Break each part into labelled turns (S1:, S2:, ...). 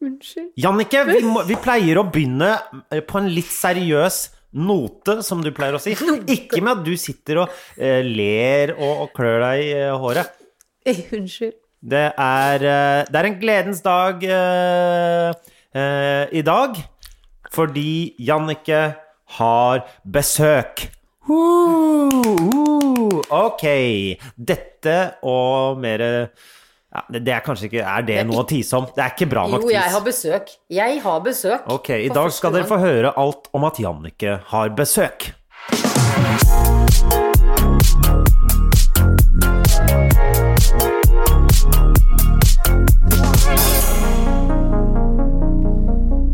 S1: Unnskyld.
S2: Jannicke, vi, må, vi pleier å begynne eh, på en litt seriøs note, som du pleier å si. Ikke med at du sitter og eh, ler og, og klør deg i eh, håret.
S1: Eh, Unnskyld.
S2: Det er, eh, det er en gledens dag eh, eh, i dag, fordi Jannicke har besøk. Woo, woo. ok. Dette og mer eh, ja, det, det er kanskje ikke Er det,
S1: er
S2: noe å tise om? Det er ikke bra nok
S1: Jo, jeg
S2: tis.
S1: har besøk. Jeg har besøk.
S2: Ok, i
S1: For
S2: dag
S1: første
S2: skal dere
S1: gang.
S2: få høre alt om at Jannicke har besøk.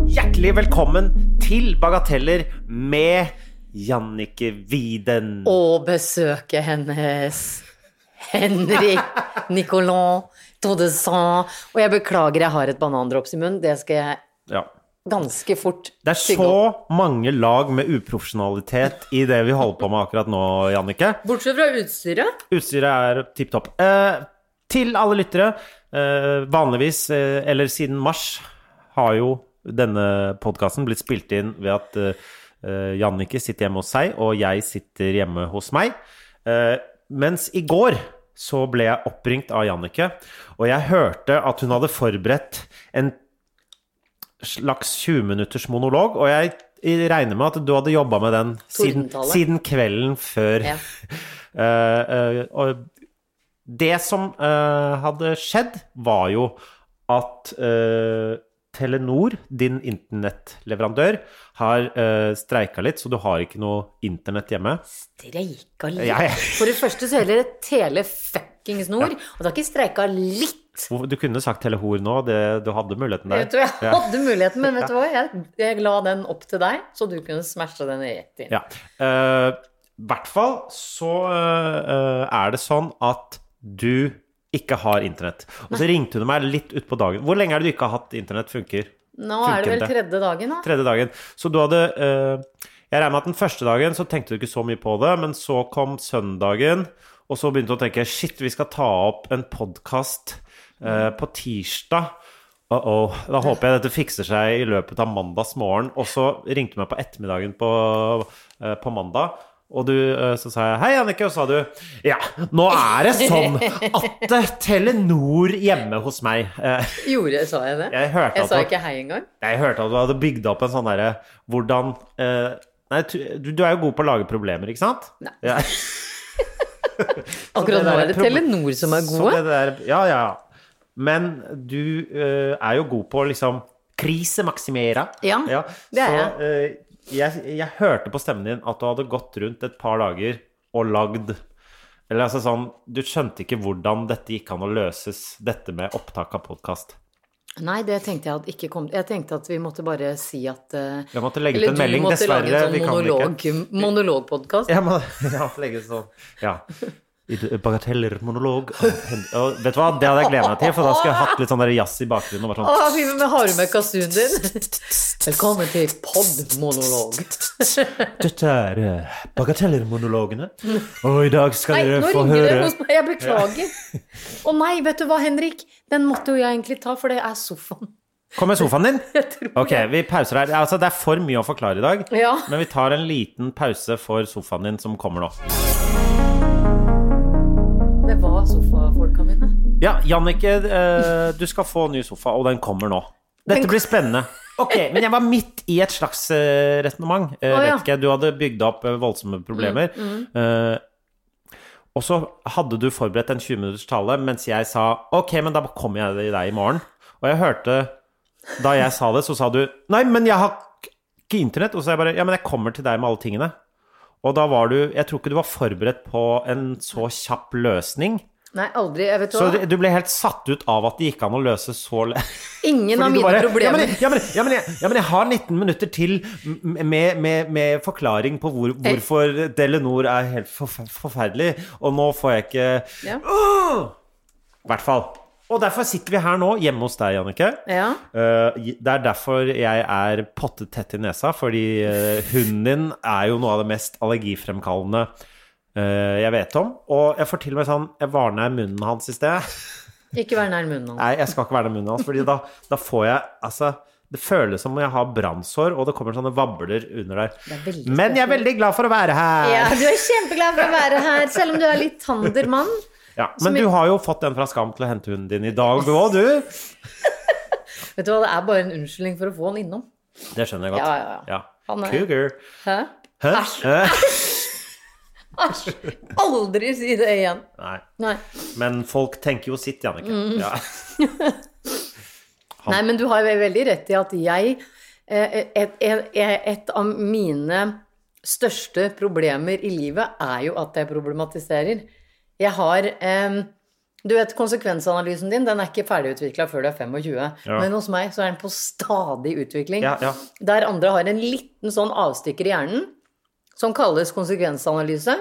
S2: Hjertelig velkommen til Bagateller med Jannicke Widen.
S1: Og besøket hennes. Henrik Nicolas Todesand. Og jeg beklager, jeg har et banandrops i munnen. Det skal jeg
S2: Ja.
S1: ganske fort
S2: Det er
S1: tygge opp.
S2: så mange lag med uprofesjonalitet i det vi holder på med akkurat nå, Jannicke.
S1: Bortsett fra utstyret.
S2: Utstyret er tipp topp. Eh, til alle lyttere, eh, vanligvis, eh, eller siden mars, har jo denne podkasten blitt spilt inn ved at eh, eh, Jannicke sitter hjemme hos seg, og jeg sitter hjemme hos meg. Eh, mens i går så ble jeg oppringt av Jannicke, og jeg hørte at hun hadde forberedt en slags 20-minutters monolog, og jeg regner med at du hadde jobba med den siden,
S1: Tordentale.
S2: siden kvelden før.
S1: Ja.
S2: Eh, eh, og det som eh, hadde skjedd, var jo at eh, Telenor, din internettleverandør, har uh, streika litt, så du har ikke noe internett hjemme.
S1: Streika litt.
S2: Jeg-
S1: For det første så gjelder det tele fuckings nord. Og det har ikke streika litt.
S2: Hvor- Du kunne sagt Telehor nå, det, du hadde muligheten
S1: Jeg tror
S2: der.
S1: jeg hadde muligheten, men vet du hva? Jeg, jeg la den opp til deg, så du kunne smashe den rett inn.
S2: Ja. Eh, I hvert fall så eh, er det sånn at du ikke har internett. Og så ringte hun meg litt utpå dagen. Hvor lenge er det du ikke har hatt internett funker?
S1: Nå er det
S2: Funker
S1: vel tredje dagen, da.
S2: Tredje dagen. Så du hadde eh, Jeg regner med at den første dagen så tenkte du ikke så mye på det, men så kom søndagen, og så begynte du å tenke Shit, vi skal ta opp en podkast på tirsdag. Uh-oh. Da håper jeg dette fikser seg i løpet av mandagsmorgen. Og så ringte du meg på ettermiddagen på, eh, på mandag. Og du, eh, så sa jeg 'Hei, Annike', og så sa du 'Ja, nå er det sånn at det er Telenor hjemme hos meg'. Eh,
S1: Gjorde, sa jeg det?
S2: Jeg hørte at
S1: Jeg sa
S2: det-
S1: ikke hei engang.
S2: jeg hørte at du hadde bygd opp en sånn derre Hvordan eh, Nei, tu- du, du er jo god på å lage problemer, ikke sant?
S1: Nei.
S2: Ja,
S1: Akkurat
S2: det
S1: nå
S2: der
S1: er det
S2: proble-
S1: Telenor som er
S2: så
S1: gode.
S2: det der, ja, ja, ja. Men du eh, er jo god på å liksom krisemaksimere.
S1: Ja, det er
S2: så, jeg. jeg. Jeg hørte på stemmen din at du hadde gått rundt et par dager og lagd Eller altså sånn Du skjønte ikke hvordan dette gikk an å løses, dette med opptak av podkast.
S1: Nei, det tenkte jeg at ikke kom Jeg tenkte at vi måtte bare si at eh,
S2: Jeg måtte legge ut
S1: Eller
S2: en
S1: du
S2: melding,
S1: måtte
S2: dessverre.
S1: lage en sånn
S2: vi kan ikke.
S1: monolog, monologpodkast.
S2: Jeg må, ja, legge det sånn. Ja. I det- Bagateller, monolog og hen- og Vet du hva, det hadde jeg gledet meg til, for da skulle jeg hatt litt sånn der jazz i bakgrunnen. Og vært
S1: Å,
S2: sånn.
S1: vi med har du med kasun din? Velkommen til podmonolog.
S2: Dette er eh, bagateller-monologene, og i dag skal
S1: Nei,
S2: dere
S1: nå
S2: få
S1: ringer det
S2: høre
S1: hos meg. Jeg beklager. Å nei, vet du hva, Henrik? Den måtte jo jeg egentlig ta, for det er sofaen.
S2: Kommer sofaen din?
S1: Jeg tror
S2: Ok, vi pauser her. Altså, det er for mye å forklare i dag,
S1: Ja.
S2: men vi tar en liten pause for sofaen din, som kommer nå.
S1: det var sofafolka mine.
S2: Ja, Jannicke, eh, du skal få ny sofa, og den kommer nå. Dette
S1: Den-
S2: blir spennende. Ok, men jeg var midt i et slags uh, resonnement. Eh,
S1: Å, ja. Mm,
S2: Vet ikke, du hadde bygd opp eh, voldsomme problemer. Eh, og så hadde du forberedt en 20 minutters tale, mens jeg sa ok, men da kommer jeg til deg i morgen. Og jeg hørte Da jeg sa det, så sa du nei, men jeg har k- ikke internett. Og så sa jeg bare ja, men jeg kommer til deg med alle tingene. Og da var du Jeg tror ikke du var forberedt på en så kjapp løsning.
S1: Nei, aldri. Jeg vet hva.
S2: Så du- du ble helt satt ut av at det gikk an å løse så le-
S1: Ingen av
S2: Fordi du
S1: mine
S2: bare, ja,
S1: problemer.
S2: men, ja, men, ja, men, jeg, ja, men jeg har 19 minutter til m- med, med, med forklaring på hvor, hvorfor Delenor er helt forf forferdelig, og nå får jeg ikke
S1: Ja.
S2: Åh! I hvert fall. Og derfor sitter vi her nå, hjemme hos deg, Jannicke.
S1: Ja.
S2: Eh, det er derfor jeg er pottet tett i nesa, fordi eh, hunden din er jo noe av det mest allergifremkallende eh, jeg vet om. Og jeg får til og med sånn Jeg varna munnen hans i sted.
S1: Ikke vær nær munnen hans.
S2: Nei, jeg skal ikke være den munnen hans, fordi da, da får jeg Altså, det føles som om jeg har brannsår, og det kommer sånne vabler under
S1: Det er
S2: der.
S1: veldig
S2: Men jeg er veldig glad for å være her!
S1: Ja, du er kjempeglad for å være her, selv om du er litt tandermann.
S2: Ja, men du har jo fått den fra Skam til å hente hunden din i dag òg, du.
S1: Vet du hva, det er bare en unnskyldning for å få han innom.
S2: Det skjønner jeg godt.
S1: Ja, ja, ja. Han er-
S2: Cougar.
S1: Hæ?
S2: Hæ? Hæ?
S1: Æsj! Aldri si det igjen.
S2: Nei.
S1: Nei.
S2: Men folk tenker jo sitt, Jannicke.
S1: Mm.
S2: Ja.
S1: Nei, men du har jo veldig rett i at jeg eh, et, et, et av mine største problemer i livet er jo at jeg problematiserer. Jeg har eh, Du vet, konsekvensanalysen din den er ikke ferdigutvikla før du er 25.
S2: Ja.
S1: Men hos meg så er den på stadig utvikling.
S2: Ja, ja.
S1: Der andre har en liten sånn avstykker i hjernen som kalles konsekvensanalyse.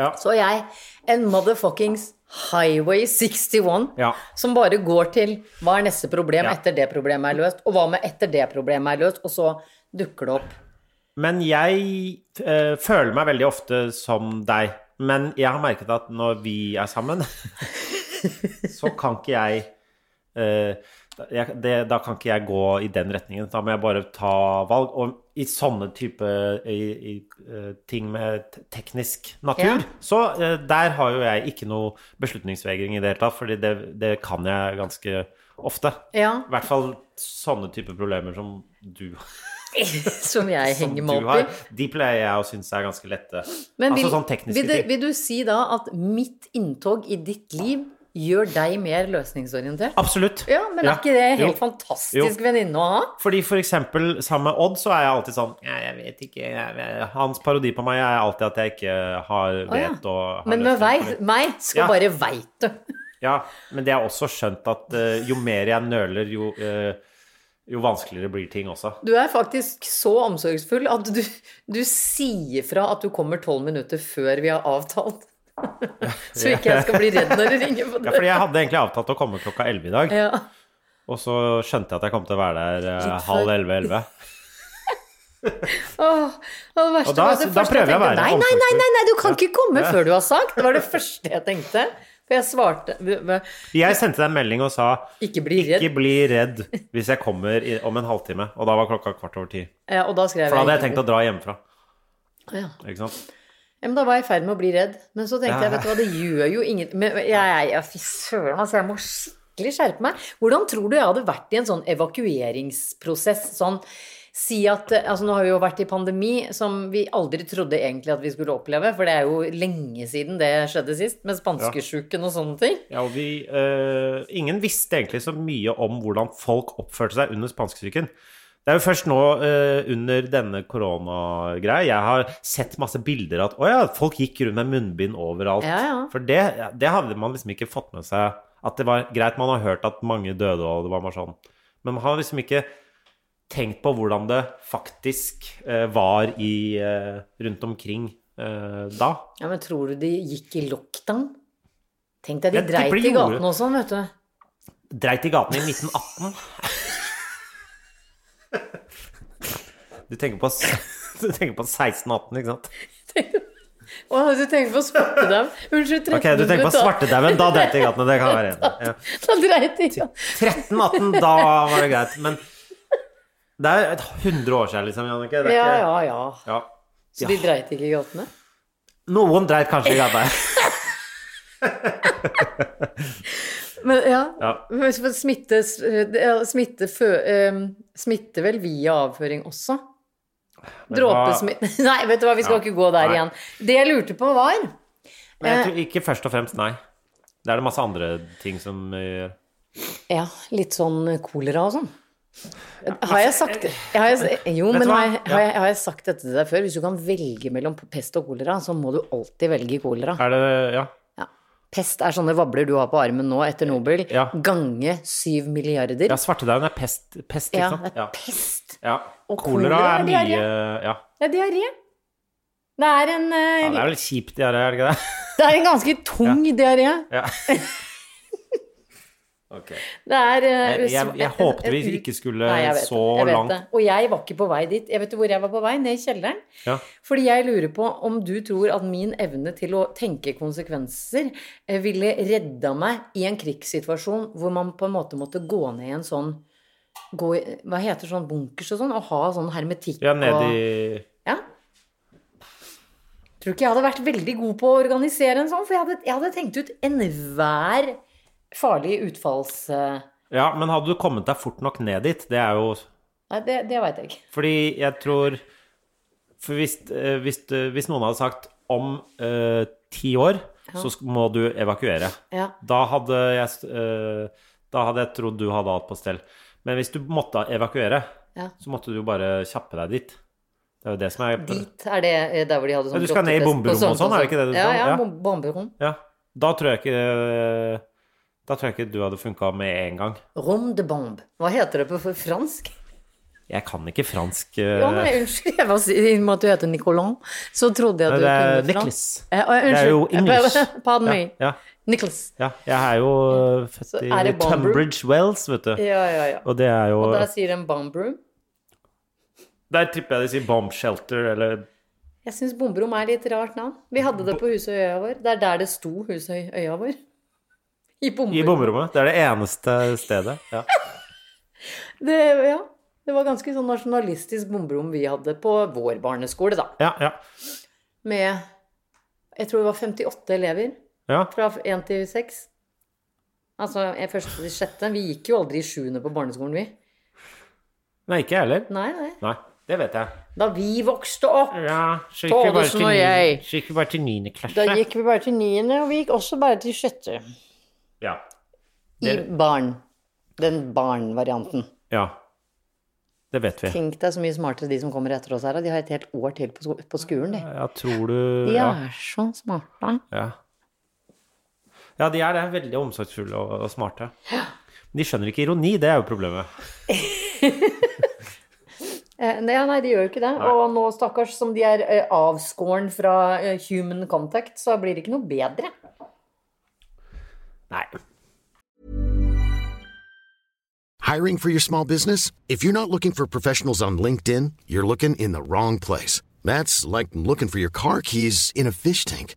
S2: Ja.
S1: Så har jeg en motherfuckings Highway 61
S2: Ja.
S1: som bare går til hva er neste problem
S2: Ja.
S1: etter det problemet er løst, og hva med etter det problemet er løst, og så dukker det opp.
S2: Men jeg eh, føler meg veldig ofte som deg. Men jeg har merket at når vi er sammen, så kan ikke jeg, eh, jeg det, Da kan ikke jeg gå i den retningen. Da må jeg bare ta valg. Og i sånne type i, i, eh, ting med te- teknisk natur,
S1: Ja.
S2: så eh, der har jo jeg ikke noe beslutningsvegring i det hele tatt, fordi det, det kan jeg ganske ofte.
S1: Ja,
S2: I hvert fall sånne type problemer som du har
S1: som jeg
S2: som
S1: henger
S2: du
S1: meg
S2: har,
S1: opp i.
S2: de pleier jeg å synes er ganske lette.
S1: Men
S2: altså sånn tekniske
S1: vil, du,
S2: ting.
S1: vil du si da at mitt inntog i ditt liv gjør deg mer løsningsorientert?
S2: Absolutt.
S1: Ja, men er ikke det helt
S2: Ah. Jo.
S1: fantastisk venninne å ha?
S2: Fordi for eksempel sammen med Odd så er jeg alltid sånn «Nei, Jeg vet ikke jeg, vet». Hans parodi på meg er alltid at jeg ikke har vet
S1: ja.
S2: og har
S1: Men med
S2: løsning
S1: vei,
S2: på det.
S1: meg skal
S2: Ja.
S1: bare veit du.
S2: Ja, men det er også skjønt at eh, jo mer jeg nøler, jo, eh, jo vanskeligere blir ting også.
S1: Du er faktisk så omsorgsfull at du, du sier fra at du kommer tolv minutter før vi har avtalt. Så ikke jeg skal bli redd når du ringer på
S2: Ja, fordi
S1: døra.
S2: jeg hadde egentlig avtalt å komme klokka 11 i dag,
S1: Ja.
S2: og så skjønte jeg at jeg kom til å være der eh,
S1: Litt før.
S2: halv 11-11.
S1: Åh, og det verste
S2: Og da-
S1: var at det
S2: da
S1: første
S2: prøver jeg å
S1: tenkte,
S2: være
S1: nei, nei, nei,
S2: omsorgsfull.
S1: nei, nei, du kan ikke komme før du har sagt. Det var det første jeg tenkte. For jeg svarte v- v-
S2: Jeg sendte deg en melding og sa
S1: Ikke bli redd.
S2: Ikke bli redd hvis jeg kommer i, om en halvtime. Og da var klokka kvart over ti.
S1: Ja, Og da skrev jeg
S2: For da hadde jeg tenkt å dra hjemmefra.
S1: ja.
S2: Ikke sant?
S1: Ja, men da var jeg i ferd med å bli redd. Men så tenkte jeg, vet du hva, det gjør jo ingen Men jeg, jeg, jeg fy søren, altså, jeg må skikkelig skjerpe meg. Hvordan tror du jeg hadde vært i en sånn evakueringsprosess? Sånn si at eh, Altså, nå har vi jo vært i pandemi, som vi aldri trodde egentlig at vi skulle oppleve, for det er jo lenge siden det skjedde sist, med spanskesjuken og sånne ting.
S2: Ja, og vi, eh, ingen visste egentlig så mye om hvordan folk oppførte seg under spanskesyken. Det er jo først nå, eh, under denne koronagreia, jeg har sett masse bilder at å ja, folk gikk rundt med munnbind overalt.
S1: Ja, ja.
S2: For det, det hadde man liksom ikke fått med seg. At det var greit, man har hørt at mange døde og det var bare sånn. Men man har liksom ikke tenkt på hvordan det faktisk eh, var i, eh, rundt omkring eh, da.
S1: Ja, men tror du de gikk i lockdown? Tenk deg, de
S2: Jeg tipper
S1: dreit
S2: de
S1: i
S2: gjorde.
S1: gatene og sånn, vet du.
S2: Dreit i gatene i 1918. Du tenker på, du tenker på 1618, ikke sant?
S1: Å, du tenker på å spotte dem. Unnskyld, 13
S2: Ok, du tenker på
S1: minutter.
S2: svartedauen, da dreit i gatene. Det kan jeg være enig i. Ja.
S1: Da dreit de i gatene.
S2: 1318, da var det greit. Men det er et 100 år siden, liksom, Jannicke. Det er
S1: Ja,
S2: ikke-
S1: ja, ja.
S2: Ja.
S1: Så de dreit ikke i gatene?
S2: Noen dreit kanskje i gata.
S1: Men ja,
S2: Ja.
S1: men for smitte, det er- smitte, fø, eh, smitte vel via avføring også?
S2: du hva?
S1: Dråpesmitte Nei, vet du hva, vi skal
S2: Ja.
S1: ikke gå der
S2: Nei.
S1: igjen. Det jeg lurte på, var
S2: Men jeg tror ikke først og fremst, nei. Det er det masse andre ting som eh, gjør.
S1: Ja, litt sånn kolera og sånn. Har jeg sagt det? Har jeg, jo,
S2: Vet
S1: men
S2: du hva?
S1: har jeg, har,
S2: Ja.
S1: jeg, har jeg sagt dette til deg før? Hvis du kan velge mellom pest og kolera, så må du alltid velge kolera.
S2: Er det Ja.
S1: Ja. Pest er sånne vabler du har på armen nå etter Nobel.
S2: Eh, Ja.
S1: Gange syv milliarder.
S2: Ja, svartedauden er pest, pest ikke
S1: Ja,
S2: sant?
S1: det er pest.
S2: Ja.
S1: Og
S2: Kolera er mye
S1: diaré.
S2: ja.
S1: Det er diaré. Det er en, eh,
S2: ja, det er vel kjipt, diaré, er det ikke det?
S1: det er en ganske tung diaré.
S2: Ja. Ok.
S1: Det er eh,
S2: Jeg, jeg, jeg
S1: en-
S2: håpet vi
S1: en-
S2: ikke skulle
S1: Nei, jeg vet
S2: så
S1: det, jeg vet
S2: langt.
S1: Det. Og jeg var ikke på vei dit. Jeg vet du hvor jeg var på vei? Ned i kjelleren.
S2: Ja.
S1: Fordi jeg lurer på om du tror at min evne til å tenke konsekvenser eh, ville redda meg i en krigssituasjon hvor man på en måte måtte gå ned i en sånn gå i, Hva heter sånn bunkers og sånn? Og ha sånn hermetikk
S2: Ja, ned
S1: og
S2: i
S1: Ja. Tror ikke jeg hadde vært veldig god på å organisere en sånn, for jeg hadde, jeg hadde tenkt ut enhver farlig utfalls... eh,
S2: Ja, men hadde du kommet deg fort nok ned dit? Det er jo
S1: Nei, det, det veit jeg ikke.
S2: Fordi jeg tror For hvis, eh, hvis, eh, hvis noen hadde sagt om eh, ti år, så sk- må du evakuere.
S1: Ja.
S2: Da hadde jeg eh, Da hadde jeg trodd du hadde alt på stell. Men hvis du måtte evakuere,
S1: Ja.
S2: så måtte du jo bare kjappe deg dit. Det er jo det som er
S1: Dit er det eh, der hvor de hadde sånn
S2: Ja, du skal ned i
S1: grottetest på
S2: bomberom og sånn, er det ikke det du
S1: Ja,
S2: skal?
S1: ja,
S2: Ja.
S1: bom- bomberom.
S2: Ja. Da tror jeg ikke eh, Da tror jeg ikke du hadde funka med en gang.
S1: Rom de bombe. Hva heter det på for fransk?
S2: Jeg kan ikke fransk eh,
S1: Å nei, unnskyld. Jeg var, I og med at du heter Nicolas, så trodde jeg at du
S2: Det er
S1: kunne fransk.
S2: Nicholas.
S1: Eh, å,
S2: Det
S1: unnskyld.
S2: er jo English.
S1: Pardon
S2: Ja,
S1: me.
S2: ja,
S1: Nicholas.
S2: ja. Jeg er jo eh, født
S1: Så er
S2: i
S1: det Bamber-
S2: Tunbridge Wells, vet du.
S1: Ja, ja, ja.
S2: Og det er jo
S1: Og der sier de bomberom.
S2: Der tipper jeg de sier bomb shelter eller
S1: Jeg syns bomberom er litt rart navn. Vi hadde det på Husøyøya vår. Det er der det sto Husøyøya vår. I
S2: I
S1: bomberom.
S2: bomberommet. Det er det eneste stedet. Ja.
S1: Det, ja. det var ganske sånn nasjonalistisk bomberom vi hadde på vår barneskole, da.
S2: Ja, ja.
S1: Med Jeg tror det var 58 elever.
S2: ja.
S1: Fra 1 til 6. Altså eh, første til sjette. Vi gikk jo aldri i sjuende på barneskolen, vi.
S2: Nei, ikke jeg heller.
S1: Nei, nei.
S2: Nei, det vet jeg.
S1: Da vi vokste opp,
S2: Ja, så
S1: gikk vi bare Thodesen til og ni- jeg.
S2: gikk vi bare til niende
S1: da
S2: klasse.
S1: gikk vi bare til niende, og vi gikk også bare til sjette.
S2: Ja.
S1: I
S2: Det-
S1: barn. Den barn-varianten.
S2: ja. Det vet vi.
S1: Tenk deg så mye smartere de som kommer etter oss her, og de har et helt år til på, sko- på skolen, de.
S2: Ja, tror du
S1: De
S2: Ja.
S1: er så smarte.
S2: Ja, ja de er det. Veldig omsorgsfulle og, og smarte. Men de skjønner ikke ironi, det er jo problemet.
S1: Eh, nei, nei, de gjør jo ikke det. Og nå, stakkars, som de er eh, avskåren fra eh, human contact, så blir det ikke noe bedre.
S2: Nei.
S3: Hiring for your small business? If you're not looking for professionals on LinkedIn, you're looking in the wrong place. That's like looking for your car keys in a fish tank.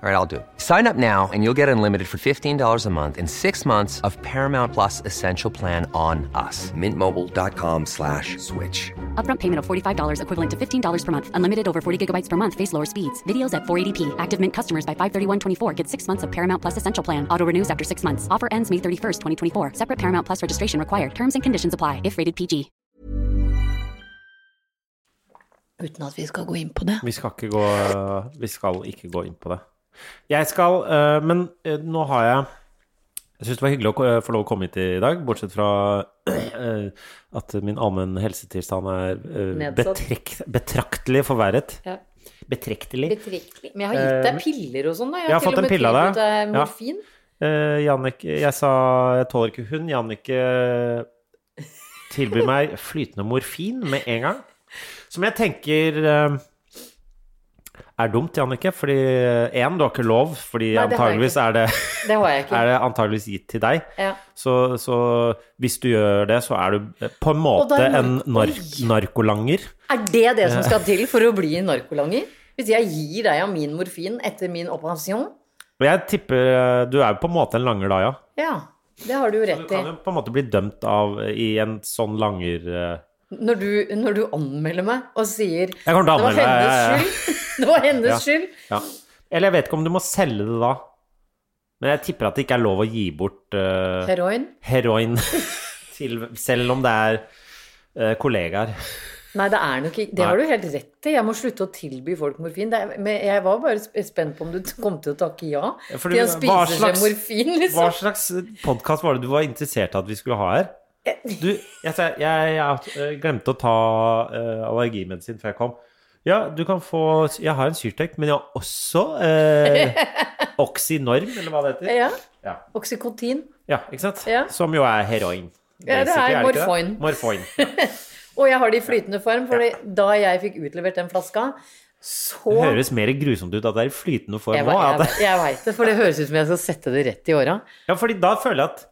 S4: All right, I'll do. it. Sign up now and you'll get unlimited for $15 a month and six months of Paramount Plus Essential Plan on us. Mintmobile.com slash switch.
S5: Upfront payment of $45 equivalent to $15 per month. Unlimited over 40 gigabytes per month. Face lower speeds. Videos at 480p. Active Mint customers by 531.24 get six months of Paramount Plus Essential Plan. Auto renews after six months. Offer ends May 31st, 2024. Separate Paramount Plus registration required. Terms and conditions apply if rated PG.
S1: Uten at vi skal gå inn på det.
S2: Vi skal ikke gå Vi skal ikke gå inn på det. Jeg skal eh, Men eh, nå har jeg Jeg syns det var hyggelig å ko- eh, få lov å komme hit i dag, bortsett fra eh, at min allmenn helsetilstand er eh,
S1: Nedsatt.
S2: betrekt, betraktelig forverret.
S1: Ja.
S2: Betraktelig.
S1: Betrekkelig. Men jeg har gitt deg piller og sånn, da.
S2: Eh, jeg har
S1: til
S2: fått
S1: og
S2: en
S1: med
S2: pille av
S1: prøvd ut,
S2: deg.
S1: eh,
S2: Ja.
S1: Morfin.
S2: Eh, Jannicke- jeg sa jeg tåler ikke hund. Jannicke tilbyr meg flytende morfin med en gang. Som jeg tenker eh, er dumt, Jannicke. Fordi én, du har ikke lov, fordi
S1: Nei, det har jeg
S2: antageligvis er det,
S1: Det har jeg ikke.
S2: er det antageligvis gitt til deg.
S1: Ja.
S2: Så, så hvis du gjør det, så er du eh, på en måte
S1: da er
S2: en nar narkolanger.
S1: Er det det som skal til for å bli narkolanger? Hvis jeg gir deg av min morfin etter min operasjon?
S2: Og jeg tipper eh, du er på en måte en langer da, ja.
S1: Ja, det har du jo
S2: Du
S1: rett i.
S2: kan jo på en måte bli dømt av eh, i en sånn langer... eh,
S1: Når du, når du anmelder meg og sier
S2: Jeg kommer til å anmelde
S1: det var
S2: deg, ja, ja, ja.
S1: hennes skyld, det var hennes
S2: Ja.
S1: skyld
S2: Ja. Eller jeg vet ikke om du må selge det da. Men jeg tipper at det ikke er lov å gi bort eh,
S1: Heroin?
S2: heroin til Selv om det er eh, kollegaer.
S1: Nei, det er nok ikke Det har du helt rett i. Jeg må slutte å tilby folk morfin. Det er, men jeg var bare sp- spent på om du t- kom til å takke ja
S2: for
S1: til å
S2: du- hva
S1: spise seg
S2: slags-
S1: morfin,
S2: Hva
S1: liksom.
S2: slags podkast var det du var interessert i at vi skulle ha her?
S1: Eh.
S2: Du, jeg, sa- jeg, jeg eh, glemte å ta eh, allergimedisin før jeg kom. Ja, du kan få Jeg har en Syrtec, men jeg har også eh, Oxynorm, eller hva det heter.
S1: Ja.
S2: Ja.
S1: Oksykotin.
S2: ja, ikke sant?
S1: Ja.
S2: Som jo er heroin.
S1: Ja, det er
S2: basically, ikke
S1: morfoin.
S2: Morfoin.
S1: Og jeg har det i flytende form, for da jeg fikk utlevert den flaska, så
S2: Det høres mer grusomt ut at det er i flytende form
S1: Jeg,
S2: nå.
S1: jeg,
S2: at
S1: jeg,
S2: det-
S1: jeg veit det, for det høres ut som jeg skal sette det rett i åra.
S2: Ja, fordi da føler jeg at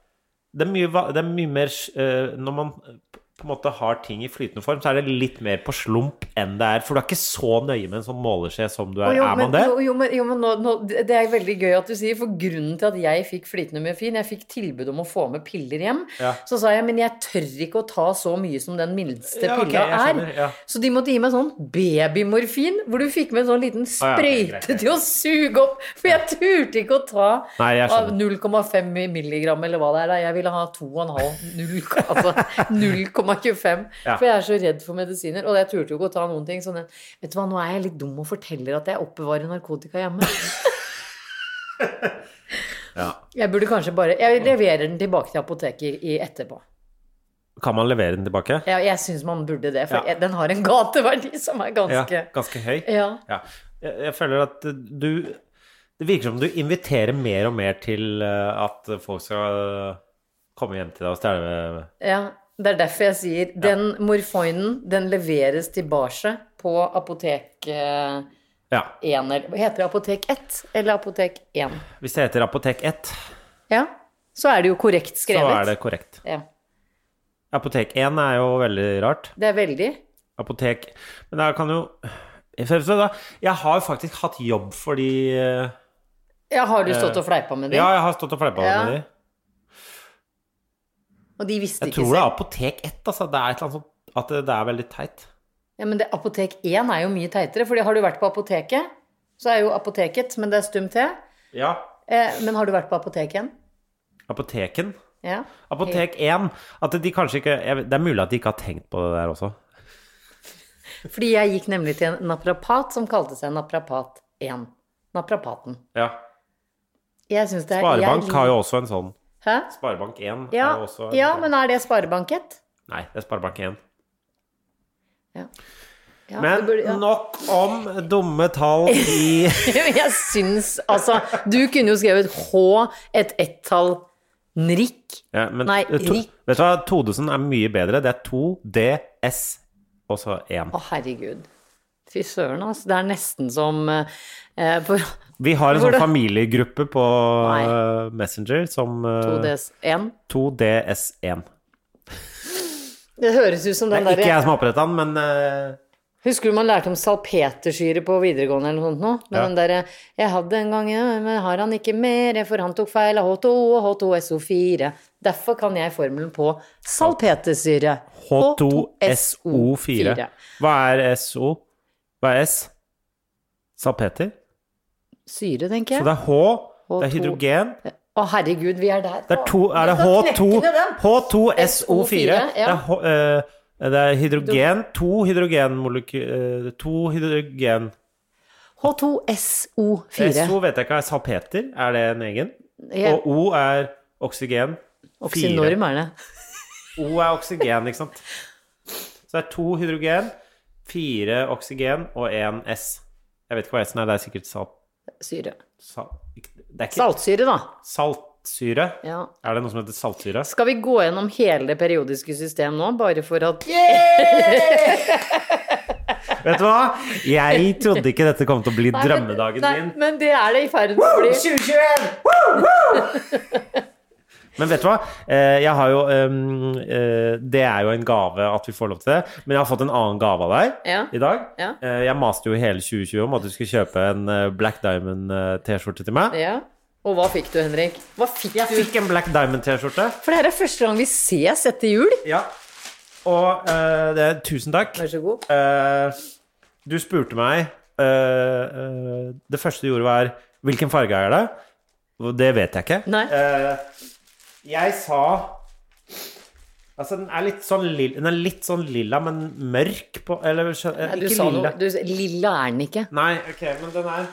S2: det er mye, va- det er mye mer eh, Når man eh, på en måte har ting i flytende form, så er det litt mer på slump enn det er. For du er ikke så nøye med en sånn måleskje som du
S1: Å,
S2: er.
S1: Jo,
S2: er man
S1: men,
S2: det?
S1: jo, jo, men, jo, men nå, nå, det er veldig gøy at du sier, for grunnen til at jeg fikk flytende morfin Jeg fikk tilbud om å få med piller hjem.
S2: Ja.
S1: Så sa jeg men jeg tør ikke å ta så mye som den minste
S2: Ja, ok,
S1: pilla
S2: jeg
S1: er.
S2: skjønner, ja.
S1: Så de måtte gi meg sånn babymorfin, hvor du fikk med en sånn liten
S2: ja, ok, greit,
S1: sprøyte
S2: greit.
S1: til å suge opp. For jeg turte ikke å ta
S2: Nei, jeg
S1: av
S2: skjønner.
S1: 0,5 milligram eller hva det er. da. Jeg ville ha 2,5. null- Altså 0,25.
S2: Ja.
S1: For jeg er så redd for medisiner. Og jeg turte jo ikke å ta noen ting. Sånn, en- vet du hva, nå er jeg litt dum og forteller at jeg oppbevarer narkotika hjemme.
S2: Ja.
S1: Jeg burde kanskje bare Jeg leverer den tilbake til apoteket i etterpå.
S2: Kan man levere den tilbake?
S1: Jeg, jeg syns man burde det, for
S2: Ja.
S1: jeg, den har en gateverdi som er ganske
S2: Ja, ganske høy?
S1: Ja.
S2: Jeg, jeg føler at eh, du Det virker som du inviterer mer og mer til eh, at folk skal eh, komme hjem til deg og stjele
S1: Ja, det er derfor jeg sier den morfoinen, den leveres til Barset på apotek eh, 1
S2: Ja.
S1: eller Heter det apotek 1 eller apotek 1?
S2: Hvis det heter Apotek 1,
S1: Ja, så er det jo korrekt
S2: så
S1: skrevet.
S2: er det korrekt.
S1: Ja,
S2: Apotek 1 er jo veldig rart.
S1: det er veldig.
S2: apotek Men jeg kan jo Så da, Jeg har faktisk hatt jobb fordi eh,
S1: Ja, har du stått og fleipa med dem?
S2: Ja, jeg har stått og fleipa
S1: Ja.
S2: med de.
S1: Og de visste
S2: Jeg
S1: ikke
S2: tror det er
S1: selv?
S2: Apotek 1, altså. Det er et eller annet sånt At det, det er veldig teit.
S1: Ja, men det, apotek 1 er jo mye teitere, for har du vært på apoteket, så er jo apoteket, men det er stum T.
S2: Ja.
S1: Eh, men har du vært på apoteket igjen?
S2: Apoteken.
S1: Ja.
S2: Apotek 1. At de kanskje ikke jeg, vet- Det er mulig at de ikke har tenkt på det der også.
S1: Fordi jeg gikk nemlig til en naprapat som kalte seg Naprapat 1. Naprapaten.
S2: Ja.
S1: Jeg synes det er
S2: Sparebank
S1: jeg-
S2: har jo også en sånn.
S1: Hæ?
S2: Sparebank 1
S1: Ja,
S2: er jo også sånn-
S1: ja, men er det sparebanket?
S2: Nei, det er Sparebank 1.
S1: Ja,
S2: Men
S1: det burde- ja.
S2: nok om dumme tall i
S1: Jeg syns altså Du kunne jo skrevet H, et ett-tall, NRIK.
S2: Ja, men,
S1: Nei,
S2: to,
S1: rik.
S2: Vet du hva, Todesen er mye bedre. Det er 2 DS og så 1.
S1: Å, herregud. Fy søren, altså. Det er nesten som eh, for
S2: Vi har en
S1: Hvor
S2: sånn
S1: det-
S2: familiegruppe på
S1: Nei.
S2: eh, Messenger som eh,
S1: 2DS1.
S2: 2DS1.
S1: Det høres ut som
S2: Det
S1: den
S2: er ikke
S1: derre
S2: jeg som har opprettet den, men eh,
S1: Husker du man lærte om salpetersyre på videregående eller noe sånt nå? Med
S2: Ja.
S1: den derre 'Jeg hadde en gang, ja, men har han ikke mer, for han tok feil av H2 og H2SO4'. Derfor kan jeg formelen på salpetersyre.
S2: H2SO4. Hva er SO? Hva er S? Salpeter?
S1: Syre, tenker
S2: Så
S1: jeg.
S2: det er H, det er
S1: H2.
S2: hydrogen.
S1: Å, herregud, vi er der.
S2: Det er, to, er det
S1: Vi skal knekke
S2: H2
S1: ned den.
S2: H2SO4?
S1: Ja.
S2: Det, er H, eh, det er hydrogen To hydrogenmolekyler To hydrogen SO
S1: H2SO4.
S2: vet jeg ikke er salpeter. Er det en egen?
S1: Ja.
S2: Og O er oksygen.
S1: Oksynorm er det.
S2: O er oksygen, ikke sant? Så det er to hydrogen, fire oksygen og én S. Jeg vet ikke hva S-en er. Det er sikkert salt...
S1: Syre.
S2: salt det er ikke
S1: Saltsyre, da.
S2: saltsyre.
S1: Ja.
S2: Er det noe som heter saltsyre?
S1: Skal vi gå gjennom hele det periodiske system nå, bare for at
S2: Vet du hva? Jeg trodde ikke dette kom til å bli
S1: Nei, men-
S2: drømmedagen
S1: nei,
S2: min.
S1: Men det er det i ferd med å bli.
S2: 2021! Men vet du hva? Eh, Jeg har jo ehm, eh, Det er jo en gave at vi får lov til det. Men jeg har fått en annen gave av deg
S1: Ja.
S2: i dag.
S1: Ja.
S2: Eh, Jeg maste jo i hele 2020 om at du skulle kjøpe en eh, Black Diamond-T-skjorte til meg.
S1: Ja. Og hva fikk du, Henrik? Hva fikk
S2: Jeg
S1: du?
S2: fikk en Black Diamond-T-skjorte.
S1: For det her er første gang vi ses etter jul.
S2: Ja. Og eh, det, tusen takk.
S1: Vær så god.
S2: Eh, du spurte meg eh, eh, Det første du gjorde, var Hvilken farge er det? Det vet jeg ikke.
S1: Nei.
S2: Eh, jeg sa Altså, den er litt sånn lilla, den er litt sånn lilla men mørk på Eller skjø- eh,
S1: Nei, du
S2: ikke
S1: sa
S2: lilla.
S1: noe. Du, lilla er den ikke.
S2: Nei, ok, men den er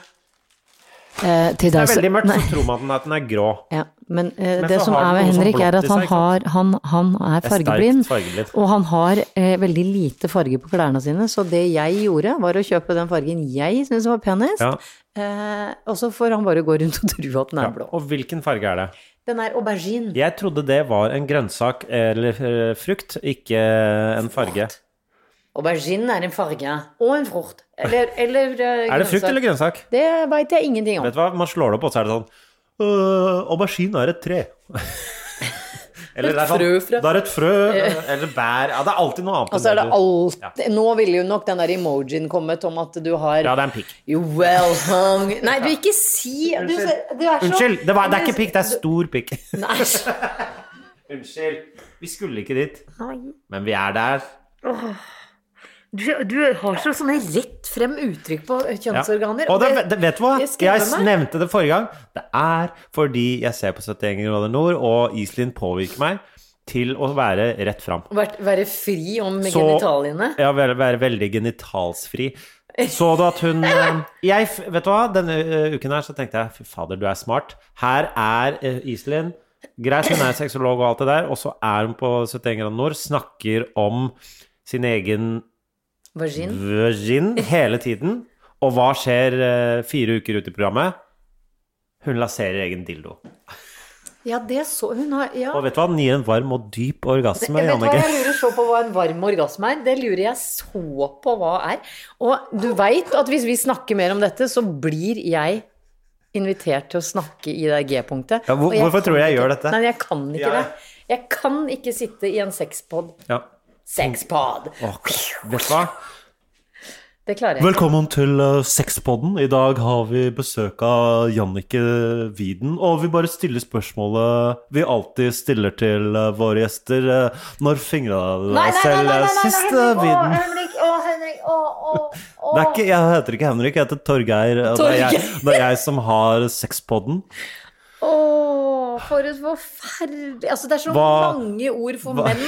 S1: Eh, til
S2: Det
S1: deg
S2: er
S1: så-
S2: veldig mørkt,
S1: Nei.
S2: så tror man at den er grå.
S1: Ja, men eh,
S2: Men
S1: det
S2: så
S1: som
S2: har
S1: er
S2: den
S1: med
S2: noe sånn
S1: Henrik, er at
S2: blått i
S1: han,
S2: seg, ikke
S1: har, han, han er
S2: er sterkt
S1: fargeblind.
S2: fargeblind.
S1: Og han har eh, veldig lite farge på klærne sine, så det jeg gjorde, var å kjøpe den fargen jeg syntes var penest.
S2: Ja.
S1: Eh, og så får han bare gå rundt og tro at den er blå.
S2: Og hvilken farge er det?
S1: Den er aubergine.
S2: Jeg trodde det var en grønnsak eller eh, frukt, ikke en farge.
S1: Aubergine er en farge. Og en frukt. Eller, eller eh,
S2: Er det frukt
S1: grønnsak.
S2: eller grønnsak?
S1: Det veit jeg ingenting om.
S2: Vet du hva, man slår det opp, og så er det sånn «Øh, Aubergine er et tre. eller det er sånn,
S1: frø fra-
S2: Det er et frø, eller bær Ja, det er alltid noe annet.
S1: Og så
S2: enn
S1: er det
S2: du-
S1: alt Nå ville jo nok den der emojien kommet om at du har
S2: Ja, det er en pikk.
S1: You well hung Nei, du ikke si du, du er så,
S2: Unnskyld, det, var, det er ikke pikk, det er stor pikk.
S1: Nei, så-
S2: Unnskyld, vi skulle ikke dit,
S1: Nei.
S2: men vi er der.
S1: Du, du har så sånne rett frem uttrykk på
S2: Ja.
S1: kjønnsorganer.
S2: Og det, det, vet du hva?
S1: det
S2: Jeg,
S1: skremmer meg.
S2: nevnte det forrige gang. Det er fordi jeg ser på 71 grader nord, og Iselin påvirker meg til å være rett fram.
S1: Vært- Være fri om
S2: Så-
S1: genitaliene.
S2: Ja, være, være veldig genitalsfri. Så du at hun eh, jeg, f- Vet du hva, denne eh, uken her så tenkte jeg fy fader, du er smart. Her er eh, Iselin. Greit, hun er sexolog og alt det der, og så er hun på 71 grader nord, snakker om sin egen
S1: Vagin.
S2: virgin hele tiden. Og hva skjer eh, fire uker ut i programmet? Hun lanserer egen dildo.
S1: Ja, det så hun har ja.
S2: Og vet du hva? Den gir en varm og dyp
S1: Jeg
S2: orgasme,
S1: vet hva, jeg
S2: Jannicke.
S1: lurer så på hva en varm orgasme er. Det lurer jeg så på hva er. Og du veit at hvis vi snakker mer om dette, så blir jeg invitert til å snakke i det G-punktet.
S2: Ja, hvor-
S1: Og jeg
S2: hvorfor
S1: kan
S2: tror du jeg
S1: ikke-
S2: gjør dette?
S1: Nei, jeg kan ikke
S2: Ja.
S1: det. Jeg kan ikke sitte i en sexpod.
S2: Ja.
S1: Sexpod!
S2: Åh, vet du hva?
S1: Det klarer jeg.
S2: Velkommen til eh, Sexpodden. I dag har vi besøk av Jannicke Widen. Og vi bare stiller spørsmålet vi alltid stiller til eh, våre gjester. eh, Når fingra du deg selv eh, sist, eh, Widen? Det er ikke, jeg heter ikke Henrik, jeg heter Torgeir. og Det er jeg, det er jeg som har sexpodden.
S1: Åh, for et forferdelig Altså, det er så
S2: Hva-
S1: mange ord for
S2: hva-
S1: menn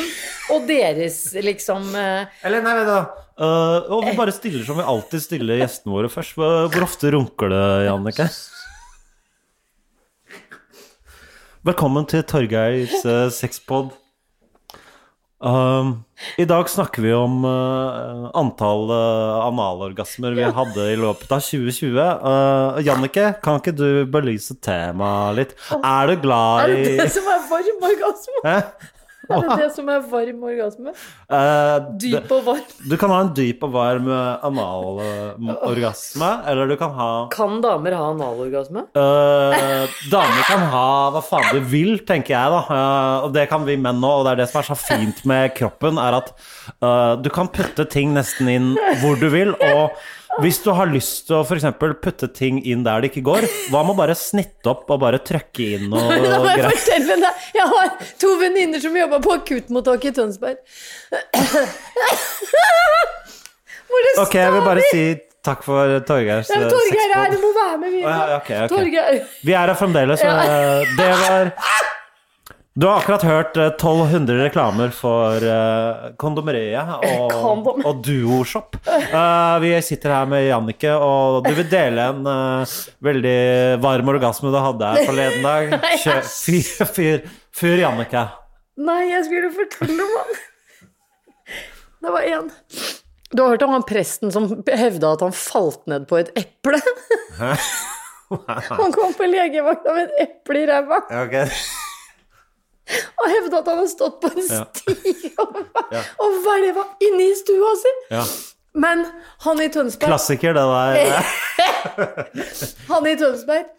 S1: og deres, liksom eh,
S2: Eller, nei, vent da. Eh, og vi bare stiller som vi alltid stiller gjestene våre først. Hvor hvor ofte runker det, Jannicke? Velkommen til Torgeirs eh, sexpod. Um, I dag snakker vi om eh, antall eh, analorgasmer vi hadde i løpet av 2020. Eh, Jannicke, kan ikke du belyse temaet litt? Er du
S1: Er
S2: glad
S1: det
S2: i
S1: det som er varm orgasme?
S2: Hæ?
S1: Er det det som er varm orgasme?
S2: Eh, det-
S1: Dyp og varm.
S2: Du kan ha en dyp og varm eh, anal eh, orgasme, eller du kan ha
S1: Kan damer ha analorgasme?
S2: eh, Damer kan ha hva faen de vil, tenker jeg, da. Eh, og det kan vi menn òg, og det er det som er så fint med kroppen, er at eh, du kan putte ting nesten inn hvor du vil, og hvis du har lyst til å f.eks. putte ting inn der det ikke går, hva med å bare snitte opp og bare trøkke inn noe
S1: Da må jeg
S2: greier?
S1: fortelle deg. Jeg har to venninner som jobba på akuttmottaket i Tønsberg. Hvor det
S2: Ok, jeg vil bare si takk for Torgeirs
S1: står
S2: eh,
S1: Torgeir her,
S2: sexpod.
S1: du må være med videre.
S2: Å, ja, ok, ok.
S1: Torgeir.
S2: Vi er her fremdeles.
S1: Ja.
S2: eh, Det var Du har akkurat hørt eh, 1200 reklamer for eh, kondomeriet og,
S1: Kondom.
S2: og Duoshop. Eh, Vi sitter her med Jannicke, og du vil dele en eh, veldig varm orgasme du hadde her forleden dag. Kjø- Fyr, fyr, fyr Jannicke.
S1: Nei, jeg skulle fortelle om han. Det var én. Du har hørt om han presten som hevda at han falt ned på et eple? Han kom på legevakta med et eple i ræva. og hevda at han hadde stått på en
S2: Ja.
S1: sti og, og hvelva inne i stua si.
S2: Ja.
S1: Men han i Tønsberg,
S2: Klassiker, det der.
S1: han i Tønsberg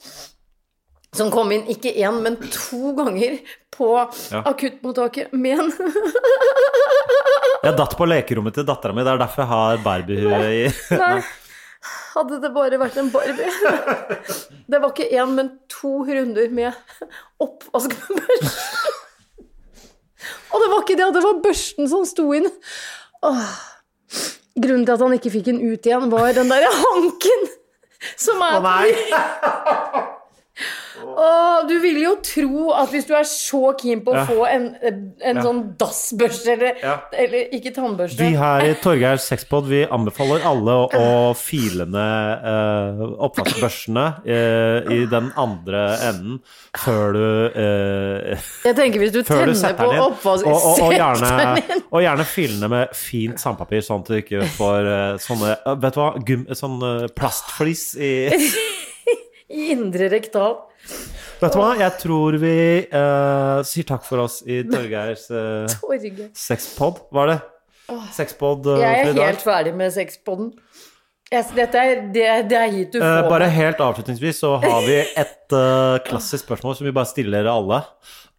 S1: som kom inn ikke én, men to ganger på
S2: Ja.
S1: akuttmottaket med en
S2: Jeg datt på lekerommet til dattera mi, det er derfor jeg har Barbie-hue i
S1: Nei. Hadde det bare vært en Barbie. Det var ikke én, men to runder med oppvask med børste. Og det var ikke det, det var børsten som sto inn. Åh. Grunnen til at han ikke fikk den ut igjen, var den derre hanken som er
S2: Å nei!
S1: Åh, du vil jo tro at hvis du er så keen på å
S2: Ja.
S1: få en, en
S2: Ja.
S1: sånn dassbørste, eller,
S2: Ja.
S1: eller ikke tannbørste
S2: Vi her i Torgeirs sexpod vi anbefaler alle å, å file ned eh, oppvaskbørsene eh, i den andre enden før du eh,
S1: Jeg tenker hvis du
S2: Før du
S1: tenner
S2: setter
S1: på
S2: den inn.
S1: oppvask...
S2: og, og, og,
S1: Setter den
S2: gjerne,
S1: inn.
S2: og gjerne fylle den med fint sandpapir, sånn at du ikke får eh, sånne eh, Vet du hva? Gum, sånn eh, plastflis i
S1: I indre rektal.
S2: Vet du hva? Jeg tror vi eh, sier takk for oss i Torgeirs eh,
S1: Torge.
S2: sexpod. Hva er det? Sexpod eh,
S1: Jeg
S2: for
S1: er
S2: i dag?
S1: helt ferdig med sexpoden. Jeg- Dette er, det, det er hit du får.
S2: Eh,
S1: meg.
S2: bare helt avslutningsvis så har vi et eh, klassisk spørsmål som vi bare stiller alle.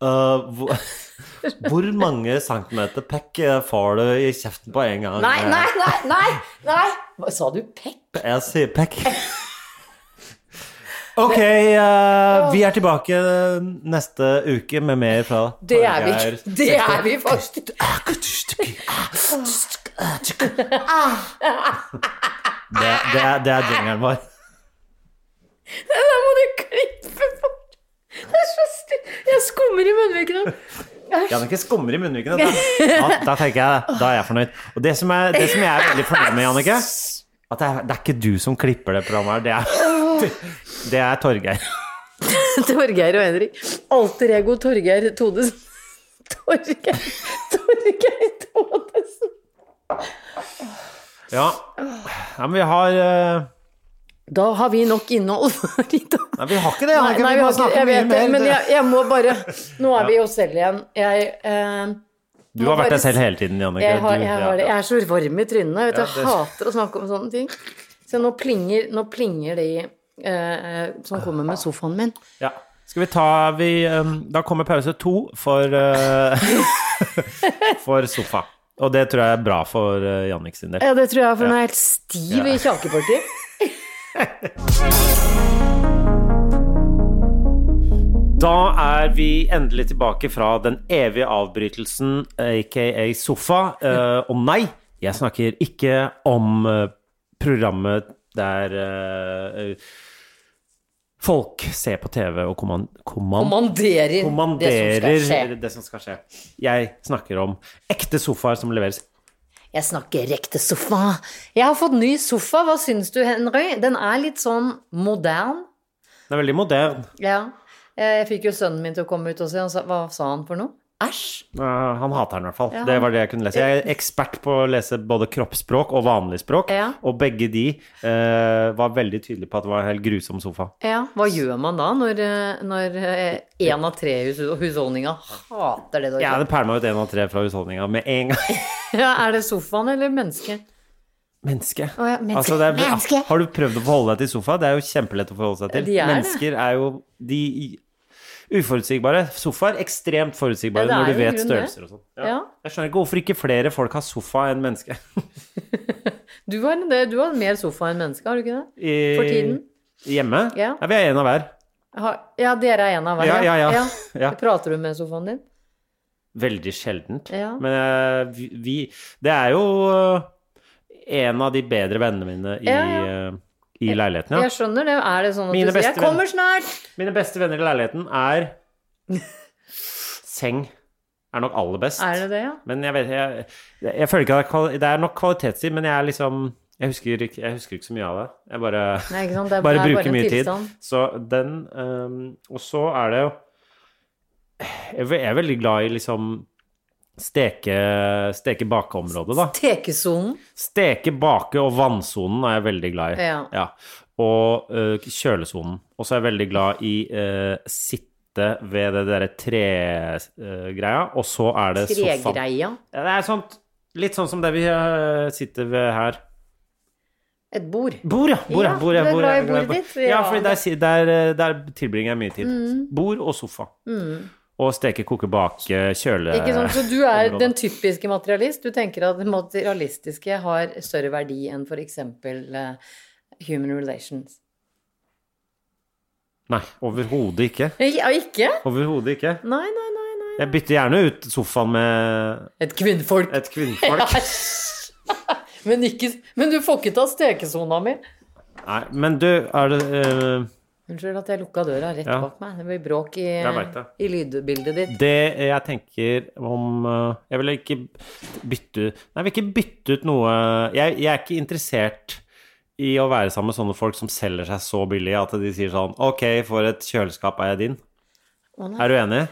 S2: Eh, hvor, hvor mange centimeter pekk eh, får du i kjeften på en gang?
S1: Nei, nei, nei! nei, nei. Hva, sa du pekk?
S2: Eh, Jeg sier pekk. Ok, eh, vi er tilbake neste uke med mer fra
S1: Det er vi,
S2: Torgeir.
S1: ikke. det er vi faktisk.
S2: Det, det er, det er jingeren vår.
S1: Det der må du klippe bort. Det er så stygt. Jeg skummer i munnvikene.
S2: Jannicke skummer i munnvikene. Da. Ja, da tenker jeg Da er jeg fornøyd. Og det som, er, det som jeg er veldig fornøyd med, Jannicke At det er, det er ikke du som klipper det programmet her. Det er, det er Torgeir.
S1: Torgeir og Henrik. Alter ego Torgeir Todesen. Torgeir Torgeir Todesen.
S2: Ja. ja, men vi har eh,
S1: Da har vi nok innhold for i dag.
S2: Nei, vi har ikke det,
S1: Nei,
S2: Jannicke.
S1: nei,
S2: Vi
S1: vi
S2: må
S1: har ikke-
S2: snakke
S1: jeg
S2: mye
S1: vet det,
S2: mer.
S1: men jeg, jeg må bare Nå er vi oss selv igjen. Jeg, eh,
S2: du har vært
S1: bare-
S2: deg selv hele tiden, Jannicke.
S1: jeg, har, jeg,
S2: Du- ja.
S1: har, jeg er så varm i trynet. Vet du,
S2: Ja,
S1: jeg
S2: det-
S1: hater å snakke om sånne ting. Så nå plinger, nå plinger de eh, som kommer med sofaen min.
S2: Ja. Skal vi ta vi, ehm, Da kommer pause to for, eh, for sofa. Og det tror jeg er bra for eh, Jannik sin del.
S1: Ja, det tror jeg, for nå er jeg helt stiv i kjakepartiet.
S2: Da er vi endelig tilbake fra den evige avbrytelsen, aka sofa. Eh, og nei, jeg snakker ikke om eh, programmet der eh, folk ser på TV og komman- komman-
S1: Kommanderer,
S2: kommanderer
S1: det som skal skje.
S2: det som skal skje. Jeg snakker om ekte sofaer som leveres
S1: Jeg snakker ekte sofa. Jeg har fått ny sofa. Hva syns du, Henry? Den er litt sånn modern.
S2: Den er veldig moderne.
S1: Ja. Eh, Jeg fikk jo sønnen min til å komme ut og se. Han sa, hva sa han for noe? Æsj!
S2: Eh, han hater den i hvert fall.
S1: Ja,
S2: Det
S1: han-
S2: var det jeg kunne lese. Jeg er ekspert på å lese både kroppsspråk og vanlig språk,
S1: Ja.
S2: og begge de eh, var veldig tydelige på at det var en helt grusom sofa.
S1: Ja, hva gjør man da når, eh, når én av tre hus husholdninga hater det du
S2: Jeg
S1: har
S2: hadde pælma ut én av tre fra husholdninga med en gang.
S1: kjøpt? Ja, er det sofaen eller mennesket?
S2: Menneske.
S1: Å ja, menneske.
S2: Altså, det er,
S1: Menneske.
S2: Har du prøvd å forholde deg til sofa? Det er jo kjempelett å forholde seg til.
S1: De er det.
S2: Mennesker er jo de uforutsigbare. Sofaer ekstremt
S1: Ja,
S2: forutsigbare
S1: det er
S2: når du
S1: jo i
S2: vet
S1: grunnen det.
S2: størrelser og sånn.
S1: Ja.
S2: Jeg skjønner ikke hvorfor ikke flere folk har sofa enn menneske.
S1: Du har, en- du har mer sofa enn menneske, har du ikke det?
S2: I-
S1: For tiden?
S2: Hjemme?
S1: Ja.
S2: ja, vi er en av hver.
S1: Har- Ja, dere er en av hver.
S2: Ja, ja, ja. Ja.
S1: Prater du med sofaen din?
S2: Veldig sjeldent.
S1: Ja.
S2: Men eh, vi, vi Det er jo eh, en av de bedre vennene mine i,
S1: Ja, ja.
S2: eh, i leiligheten, ja.
S1: Jeg skjønner det. Er det sånn at
S2: Mine
S1: du sier
S2: beste
S1: 'jeg kommer snart'?
S2: Mine beste venner i leiligheten er Seng er nok aller best.
S1: Er det det, ja?
S2: Men jeg vet jeg, jeg føler ikke at det er kvali- Det er nok kvalitetstid, men jeg er liksom jeg husker, ikke, jeg husker ikke så mye av det. Jeg bare,
S1: Nei, ikke sant? Det er-
S2: bare
S1: det er bare
S2: bruker
S1: en
S2: mye
S1: tilstand.
S2: tid. Så den ehm, Og så er det jo Jeg er ve- jeg er veldig glad i liksom steke, steke bakeområdet, da.
S1: Tekesonen.
S2: Steke, bake og vannsonen er jeg veldig glad i.
S1: Ja.
S2: Og øh, kjølesonen. Og så er jeg veldig glad i øh, sitte ved det derre tregreia, og så er det sofaen.
S1: Tregreia.
S2: Ja, Det er sånt, litt sånn som det vi øh, sitter ved her.
S1: Et bord.
S2: Bord, ja! Bord, ja,
S1: Ja,
S2: bord, ja,
S1: du er
S2: bord,
S1: glad
S2: ja,
S1: i
S2: glad i
S1: bordet
S2: bord.
S1: ditt,
S2: Ja,
S1: ja. Mm.
S2: for der, si- der, øh, der tilbringer jeg mye tid. Bord og sofa. Og steke, koke, bake, kjøle...
S1: Ikke sånn sant? Så du er
S2: området.
S1: den typiske materialist. Du tenker at det materialistiske har større verdi enn f.eks. human relations.
S2: Nei, overhodet ikke.
S1: Ja, ikke?
S2: Overhodet ikke.
S1: Nei, nei, nei. nei.
S2: Jeg bytter gjerne ut sofaen med
S1: Et kvinnfolk.
S2: et kvinnfolk.
S1: Æsj! Men, ikke, men du får ikke ta stekesona mi.
S2: Nei, men du, er det eh,
S1: Unnskyld at jeg lukka døra rett
S2: Ja.
S1: bak meg. Det blir bråk i,
S2: Jeg vet det.
S1: i lydbildet ditt.
S2: Det jeg tenker om eh, Jeg vil ikke bytte Nei, jeg vil ikke bytte ut noe Jeg, jeg er ikke interessert i å være sammen med sånne folk som selger seg så billig at de sier sånn Ok, for et kjøleskap er jeg din.
S1: Å nei.
S2: Er du enig?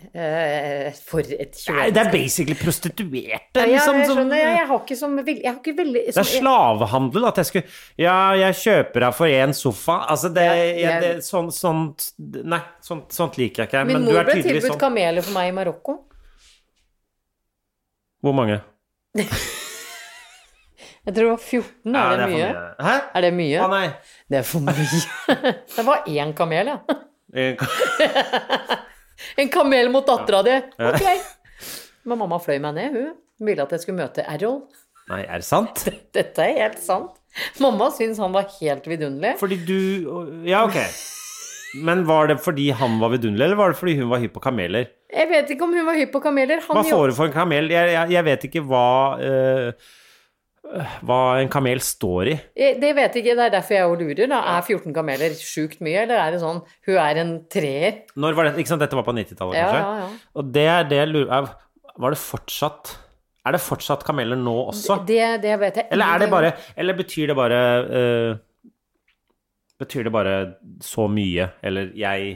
S1: Eh, for et
S2: Nei,
S1: kjøl.
S2: det er basically prostituerte,
S1: Ja,
S2: liksom.
S1: jeg
S2: som-
S1: skjønner. Jeg, jeg har ikke som vil- Jeg har ikke veldig
S2: det er
S1: som-
S2: slavehandel at jeg skulle Ja, jeg kjøper deg for én sofa. Altså, det,
S1: Ja,
S2: jeg,
S1: jeg-
S2: det sånt, sånt Nei, sånt, sånt liker jeg ikke.
S1: Min
S2: Men du
S1: mor
S2: er
S1: ble
S2: tydelig
S1: tilbudt
S2: sånn.
S1: kameler for meg i Marokko.
S2: Hvor mange?
S1: Jeg tror det var 14. Er det, mye?
S2: for mye. Hæ?
S1: Er det mye?
S2: Å nei.
S1: Det er for mye. det var én kamel, ja.
S2: Eh,
S1: En kamel mot dattera di. Ok. Men mamma fløy meg ned, hun. Hun ville at jeg skulle møte Errol.
S2: Nei, er det sant?
S1: Dette er helt sant. Mamma syns han var helt vidunderlig.
S2: Fordi du Ja, ok. Men var det fordi han var vidunderlig, eller var det fordi hun var hypp på kameler?
S1: Jeg vet ikke om hun var hypp på kameler. Han
S2: Hva
S1: jo-
S2: får du for en kamel? Jeg, jeg, jeg vet ikke hva eh, Hva en kamel står i.
S1: Eh, Det vet jeg ikke, det er derfor jeg jo lurer. Da. Er 14 kameler sjukt mye, eller er det sånn hun er en treer?
S2: Når var det, ikke sant, Dette var på 90-tallet,
S1: Ja,
S2: kanskje?
S1: ja, ja.
S2: Og det er det jeg lurer er, Var det fortsatt Er det fortsatt kameler nå også?
S1: Det, det vet jeg
S2: Eller er det
S1: ingenting
S2: bare
S1: om.
S2: Eller betyr det bare eh, Betyr det bare så mye? Eller jeg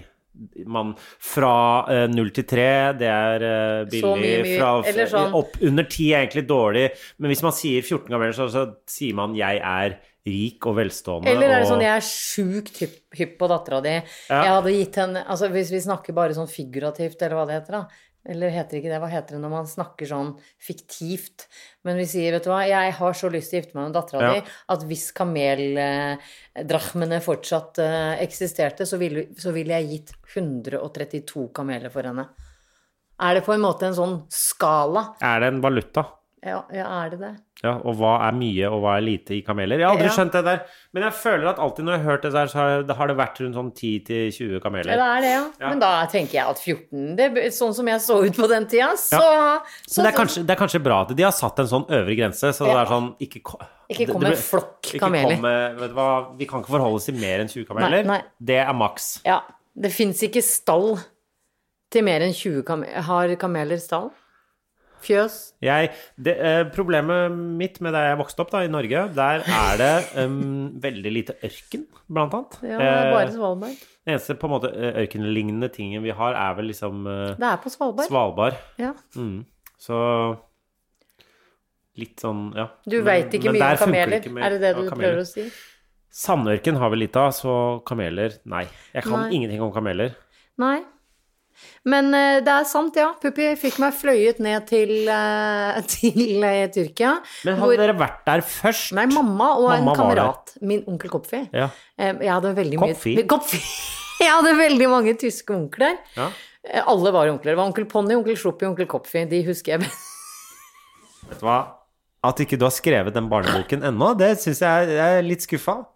S2: man, Fra eh, null til tre, det er eh, billig.
S1: Så mye, mye.
S2: Fra,
S1: Eller sånn-
S2: Opp under ti er egentlig dårlig. Men hvis man sier 14 ganger, så, så sier man 'jeg er rik og velstående'.
S1: Eller er det sånn
S2: og,
S1: jeg er sjukt hypp, hypp på dattera di. Jeg hadde gitt henne Altså hvis vi snakker bare sånn figurativt, eller hva det heter, da. Eller heter ikke det, hva heter det når man snakker sånn fiktivt? Men vi sier, vet du hva, jeg har så lyst til å gifte meg med dattera
S2: Ja.
S1: di at hvis kameldrachmene fortsatt eh, eksisterte, så ville, så ville jeg gitt 132 kameler for henne. Er det på en måte en sånn skala?
S2: er det en valuta?
S1: Ja, ja er det det?
S2: Ja, og hva er mye og hva er lite i kameler? Jeg har aldri
S1: Ja.
S2: skjønt det der. Men jeg føler at alltid når jeg har hørt det der, så har- har det vært rundt sånn 10-20
S1: Ja,
S2: kameler.
S1: det er det, ja. Men da tenker jeg at 14 det, er Sånn som jeg så ut på den tida, så,
S2: Så det er, kanskje, det er kanskje bra at de har satt en sånn øvre grense, så det
S1: Ja.
S2: er sånn Ikke, ko-
S1: Ikke kom med
S2: det- det ble-
S1: flokk
S2: ikke
S1: kameler.
S2: kom med- vet du hva, vi kan ikke forholde oss til mer enn 20 kameler.
S1: Nei, nei.
S2: Det er maks.
S1: Ja. Det fins ikke stall til mer enn 20 kameler. Har kameler stall? Fjøs?
S2: Jeg, det, eh, problemet mitt med der jeg vokste opp, da, i Norge, der er det em, veldig lite ørken, blant annet.
S1: Ja, det er bare
S2: Eh,
S1: Svalbard.
S2: den eneste på en måte eh, ørkenlignende tingen vi har, er vel liksom eh,
S1: Det er på Svalbard.
S2: Svalbard. Mm.
S1: Ja.
S2: Så litt sånn, ja.
S1: Du
S2: Men-
S1: veit ikke
S2: men
S1: mye
S2: der
S1: om
S2: funker
S1: kameler.
S2: ikke med-
S1: Er det det
S2: ja,
S1: du
S2: kameler.
S1: prøver å si?
S2: Sandørken har vi litt av, så kameler Nei. Jeg kan
S1: Nei.
S2: ingenting om kameler.
S1: Nei. Men eh, det er sant, ja. Puppi fikk meg fløyet ned til, eh, til eh, Tyrkia.
S2: Men hadde
S1: hvor-
S2: dere vært der først?
S1: Nei, mamma og
S2: Mamma
S1: en
S2: var
S1: kamerat. Min onkel Kopfi.
S2: Ja.
S1: Eh, Jeg hadde veldig mye
S2: Kopfi?
S1: Kopfi. Jeg hadde veldig mange tyske onkler.
S2: Ja.
S1: Eh, Alle var onkler. Det var onkel Ponni, onkel Sloppi, onkel Kopfi. De husker jeg best.
S2: Vet du hva? At ikke du har skrevet den barneboken ennå, det syns jeg er- jeg er litt skuffa.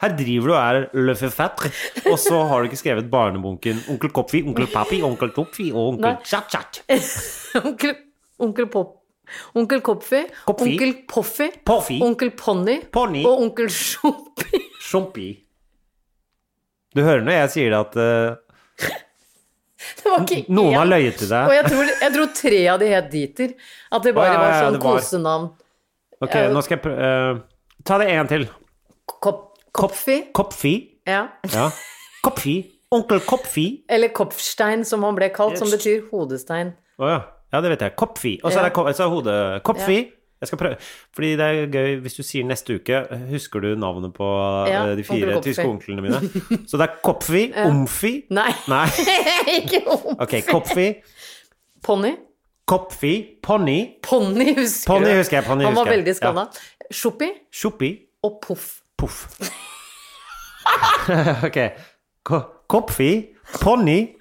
S2: Her driver du og er le forfatter, og så har du ikke skrevet barneboken Onkel Kopfi, Onkel Papi, Onkel Topfi og
S1: Nei.
S2: Onkel Chat-Chat.
S1: onkel, onkel Pop. Onkel Kopfi,
S2: Kopfi.
S1: onkel Poffi,
S2: Poffi.
S1: onkel Ponni
S2: Ponni.
S1: og onkel Sloppi.
S2: Sjompi. Du hører når jeg sier det at eh,
S1: Det var ikke
S2: noen
S1: én.
S2: har løyet til deg.
S1: Og jeg tror, jeg tror tre av de het Dieter. At det bare
S2: Å, ja, ja, ja,
S1: var sånn
S2: det var-
S1: kosenavn.
S2: Ok, nå skal jeg prøve Ta det en til.
S1: Kop, Kopfi.
S2: Kopfi.
S1: Ja.
S2: Ja. Kopfi. Onkel Kopfi.
S1: Eller Kopfstein, som han ble kalt, som betyr hodestein.
S2: Å ja. Ja, det vet jeg. Kopfi. Og så er det ko- så er hodet Kopfi. Jeg skal prøve. Fordi det er gøy hvis du sier neste uke Husker du navnet på
S1: Ja,
S2: eh, de fire
S1: onkel Kopfi.
S2: tyske onklene mine? Så det er Kopfi, Omfi
S1: Nei,
S2: Nei.
S1: ikke om
S2: Ok, Kopfi,
S1: Ponni.
S2: Kopfi, Ponni,
S1: Ponni husker
S2: Ponni
S1: du.
S2: husker jeg, Ponni
S1: Han var
S2: husker jeg.
S1: veldig skada. Sjoppi
S2: Sjoppi,
S1: og Poff.
S2: Poff. ok. Ko- Kopfi, Ponni,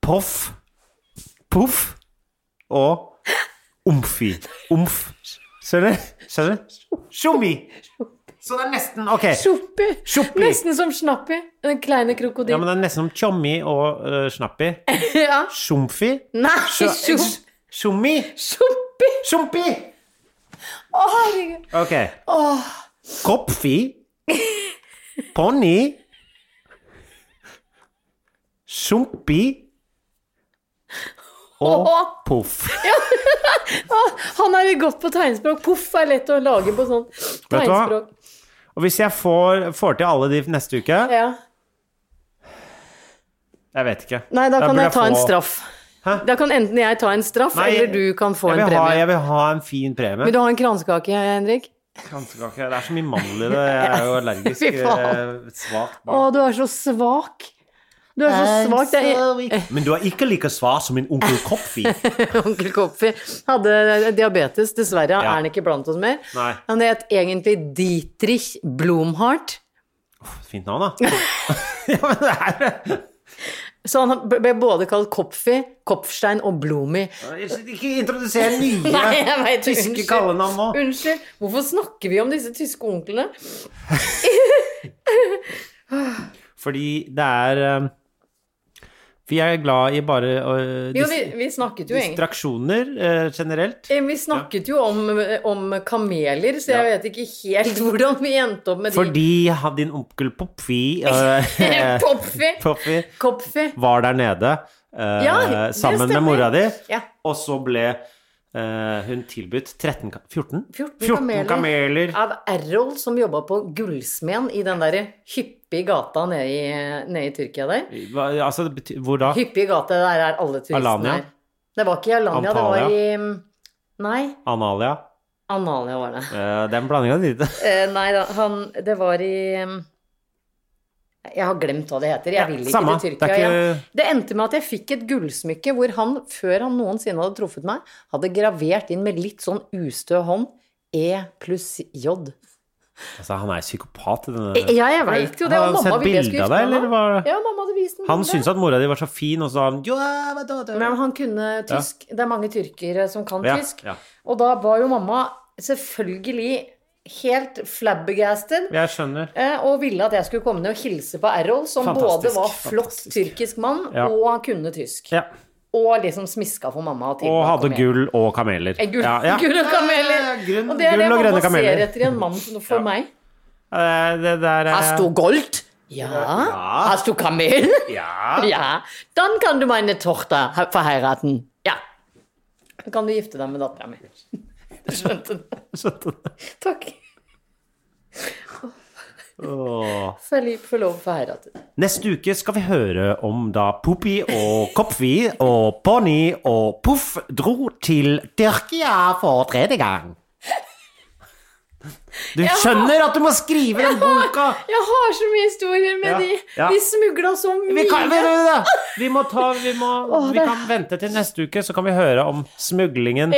S2: Poff, Poff og Omfi. Omf. Skjønner du? Skjønner du? Sjommi. Så det er nesten Ok.
S1: Sjoppi!
S2: Sjoppi.
S1: Nesten som Snappi, den kleine
S2: Ja, men
S1: krokodillen.
S2: det er nesten som tjommi og eh, snappi.
S1: Ja.
S2: Sjomfi.
S1: Nei,
S2: Sjo-
S1: Sjoppi!
S2: Sjommi.
S1: Sjoppi!
S2: Sjompi!
S1: Å, herregud.
S2: Ok. Kopfi. Ponni. Sjompi og
S1: Åh!
S2: Poff.
S1: Ah, han er godt på tegnspråk. Poff er lett å lage på sånn
S2: hva?
S1: tegnspråk.
S2: Og hvis jeg får, får til alle de neste uke
S1: Ja.
S2: Jeg vet ikke.
S1: Nei, da kan
S2: burde
S1: jeg ta en
S2: få-
S1: straff. Da kan enten jeg ta en straff,
S2: Nei,
S1: eller du kan få
S2: jeg
S1: en
S2: vil Ha,
S1: premie.
S2: jeg vil ha en fin premie.
S1: Vil du ha en kransekake, Henrik?
S2: Kransekake. Det er så mye mandel i det. Jeg er jo allergisk.
S1: Fy faen.
S2: eh, Svakt
S1: Å,
S2: barn.
S1: du er så svak. Du er så svak. Det er
S2: Men du er ikke like svak som min onkel Kopfi.
S1: Onkel Koffi hadde diabetes, dessverre er han ikke blant oss mer.
S2: Nei.
S1: Han het egentlig Dietrich Blomhardt.
S2: Fint navn, da. ja, men det er
S1: Så han ble både kalt Kopfi, Kopfstein og Blomi.
S2: Ikke introduser nye
S1: Nei, jeg vet,
S2: tyske
S1: unnskyld.
S2: kallenavn nå.
S1: Unnskyld, hvorfor snakker vi om disse tyske onklene?
S2: Fordi det er eh, Vi er glad i bare eh,
S1: Jo,
S2: dis
S1: vi, vi snakket jo egentlig
S2: distraksjoner eh, generelt.
S1: Eh, Vi snakket jo om, om kameler, så jeg vet ikke helt hvordan vi endte opp med
S2: Fordi ha- din onkel Popfi
S1: de.
S2: eh,
S1: Popfi!
S2: Popfi
S1: Kopfi.
S2: var der nede eh,
S1: Ja, det
S2: sammen
S1: stemmer.
S2: med mora di,
S1: Ja.
S2: og så ble eh, hun tilbudt 13 ka- 14?
S1: 14 kameler.
S2: kameler.
S1: Av Errol, som jobba på Gullsmeden i den der hyppige gata nede i, nede i Tyrkia der.
S2: Hva, altså, det bety- hvor da?
S1: Hyppige gate, der er alle turistene
S2: Alanya?
S1: her. Det var ikke i Alanya,
S2: Antalya?
S1: det var i mm, Nei,
S2: Analia?
S1: Analia var det.
S2: Eh, det er en blanding av de to.
S1: Eh, nei da, han Det var i mm, Jeg har glemt hva det heter. Jeg vil ikke
S2: samme.
S1: til
S2: Det
S1: Tyrkia
S2: er ikke-
S1: igjen. Det endte med at jeg fikk et gullsmykke hvor han, før han noensinne hadde truffet meg, hadde gravert inn med litt sånn ustø hånd E pluss J.
S2: Altså, han er psykopat. Denne.
S1: Eh, Ja, jeg veit jo det.
S2: Har
S1: og
S2: han
S1: mamma
S2: sett
S1: ville jeg skulle
S2: bilde av
S1: gifte meg
S2: deg, eller
S1: med han.
S2: var-
S1: Ja, mamma hadde vist meg
S2: Han
S1: bildet.
S2: syntes at mora di var så fin, og så sa han «Ja, hva da, da?»
S1: Men han kunne tysk. Det er mange tyrkere som kan
S2: Ja,
S1: tysk.
S2: ja.
S1: Og da var jo mamma selvfølgelig helt flabbergasted.
S2: Jeg skjønner.
S1: eh, Og ville at jeg skulle komme ned og hilse på Errol, som
S2: Fantastisk,
S1: både var flott
S2: fantastisk.
S1: tyrkisk mann
S2: Ja.
S1: og kunne tysk.
S2: Ja.
S1: Og liksom smiska for mamma. til å
S2: Og hadde
S1: komme hjem.
S2: gull og kameler.
S1: Eh, Gull,
S2: ja, ja.
S1: gull og kameler.
S2: Ja, grunn-
S1: og det er
S2: gull
S1: det
S2: og grønne
S1: mamma
S2: kameler.
S1: ser etter i en mann for meg.
S2: Eh, Det der er
S1: Hast du Gold? Ja. Hast du Kamel?
S2: Ja.
S1: Ja. Dann kan du meine Tochter he- verheiraten. Ja. Da kan du gifte deg med dattera mi. Skjønte du?
S2: Skjønte du?
S1: Takk.
S2: Åh.
S1: Philippe får lov å forheirate.
S2: Neste uke skal vi høre om da Poopy og Kopfi og Ponni og Poff dro til Tyrkia for tredje gang. Du skjønner at du må skrive den boka!
S1: Jeg har så mye historier med
S2: Ja,
S1: de.
S2: ja.
S1: De smugla så mye.
S2: Vi, kan, vet du det? vi må ta Vi, må, vi
S1: det-
S2: kan vente til neste uke, så kan vi høre om smuglingen.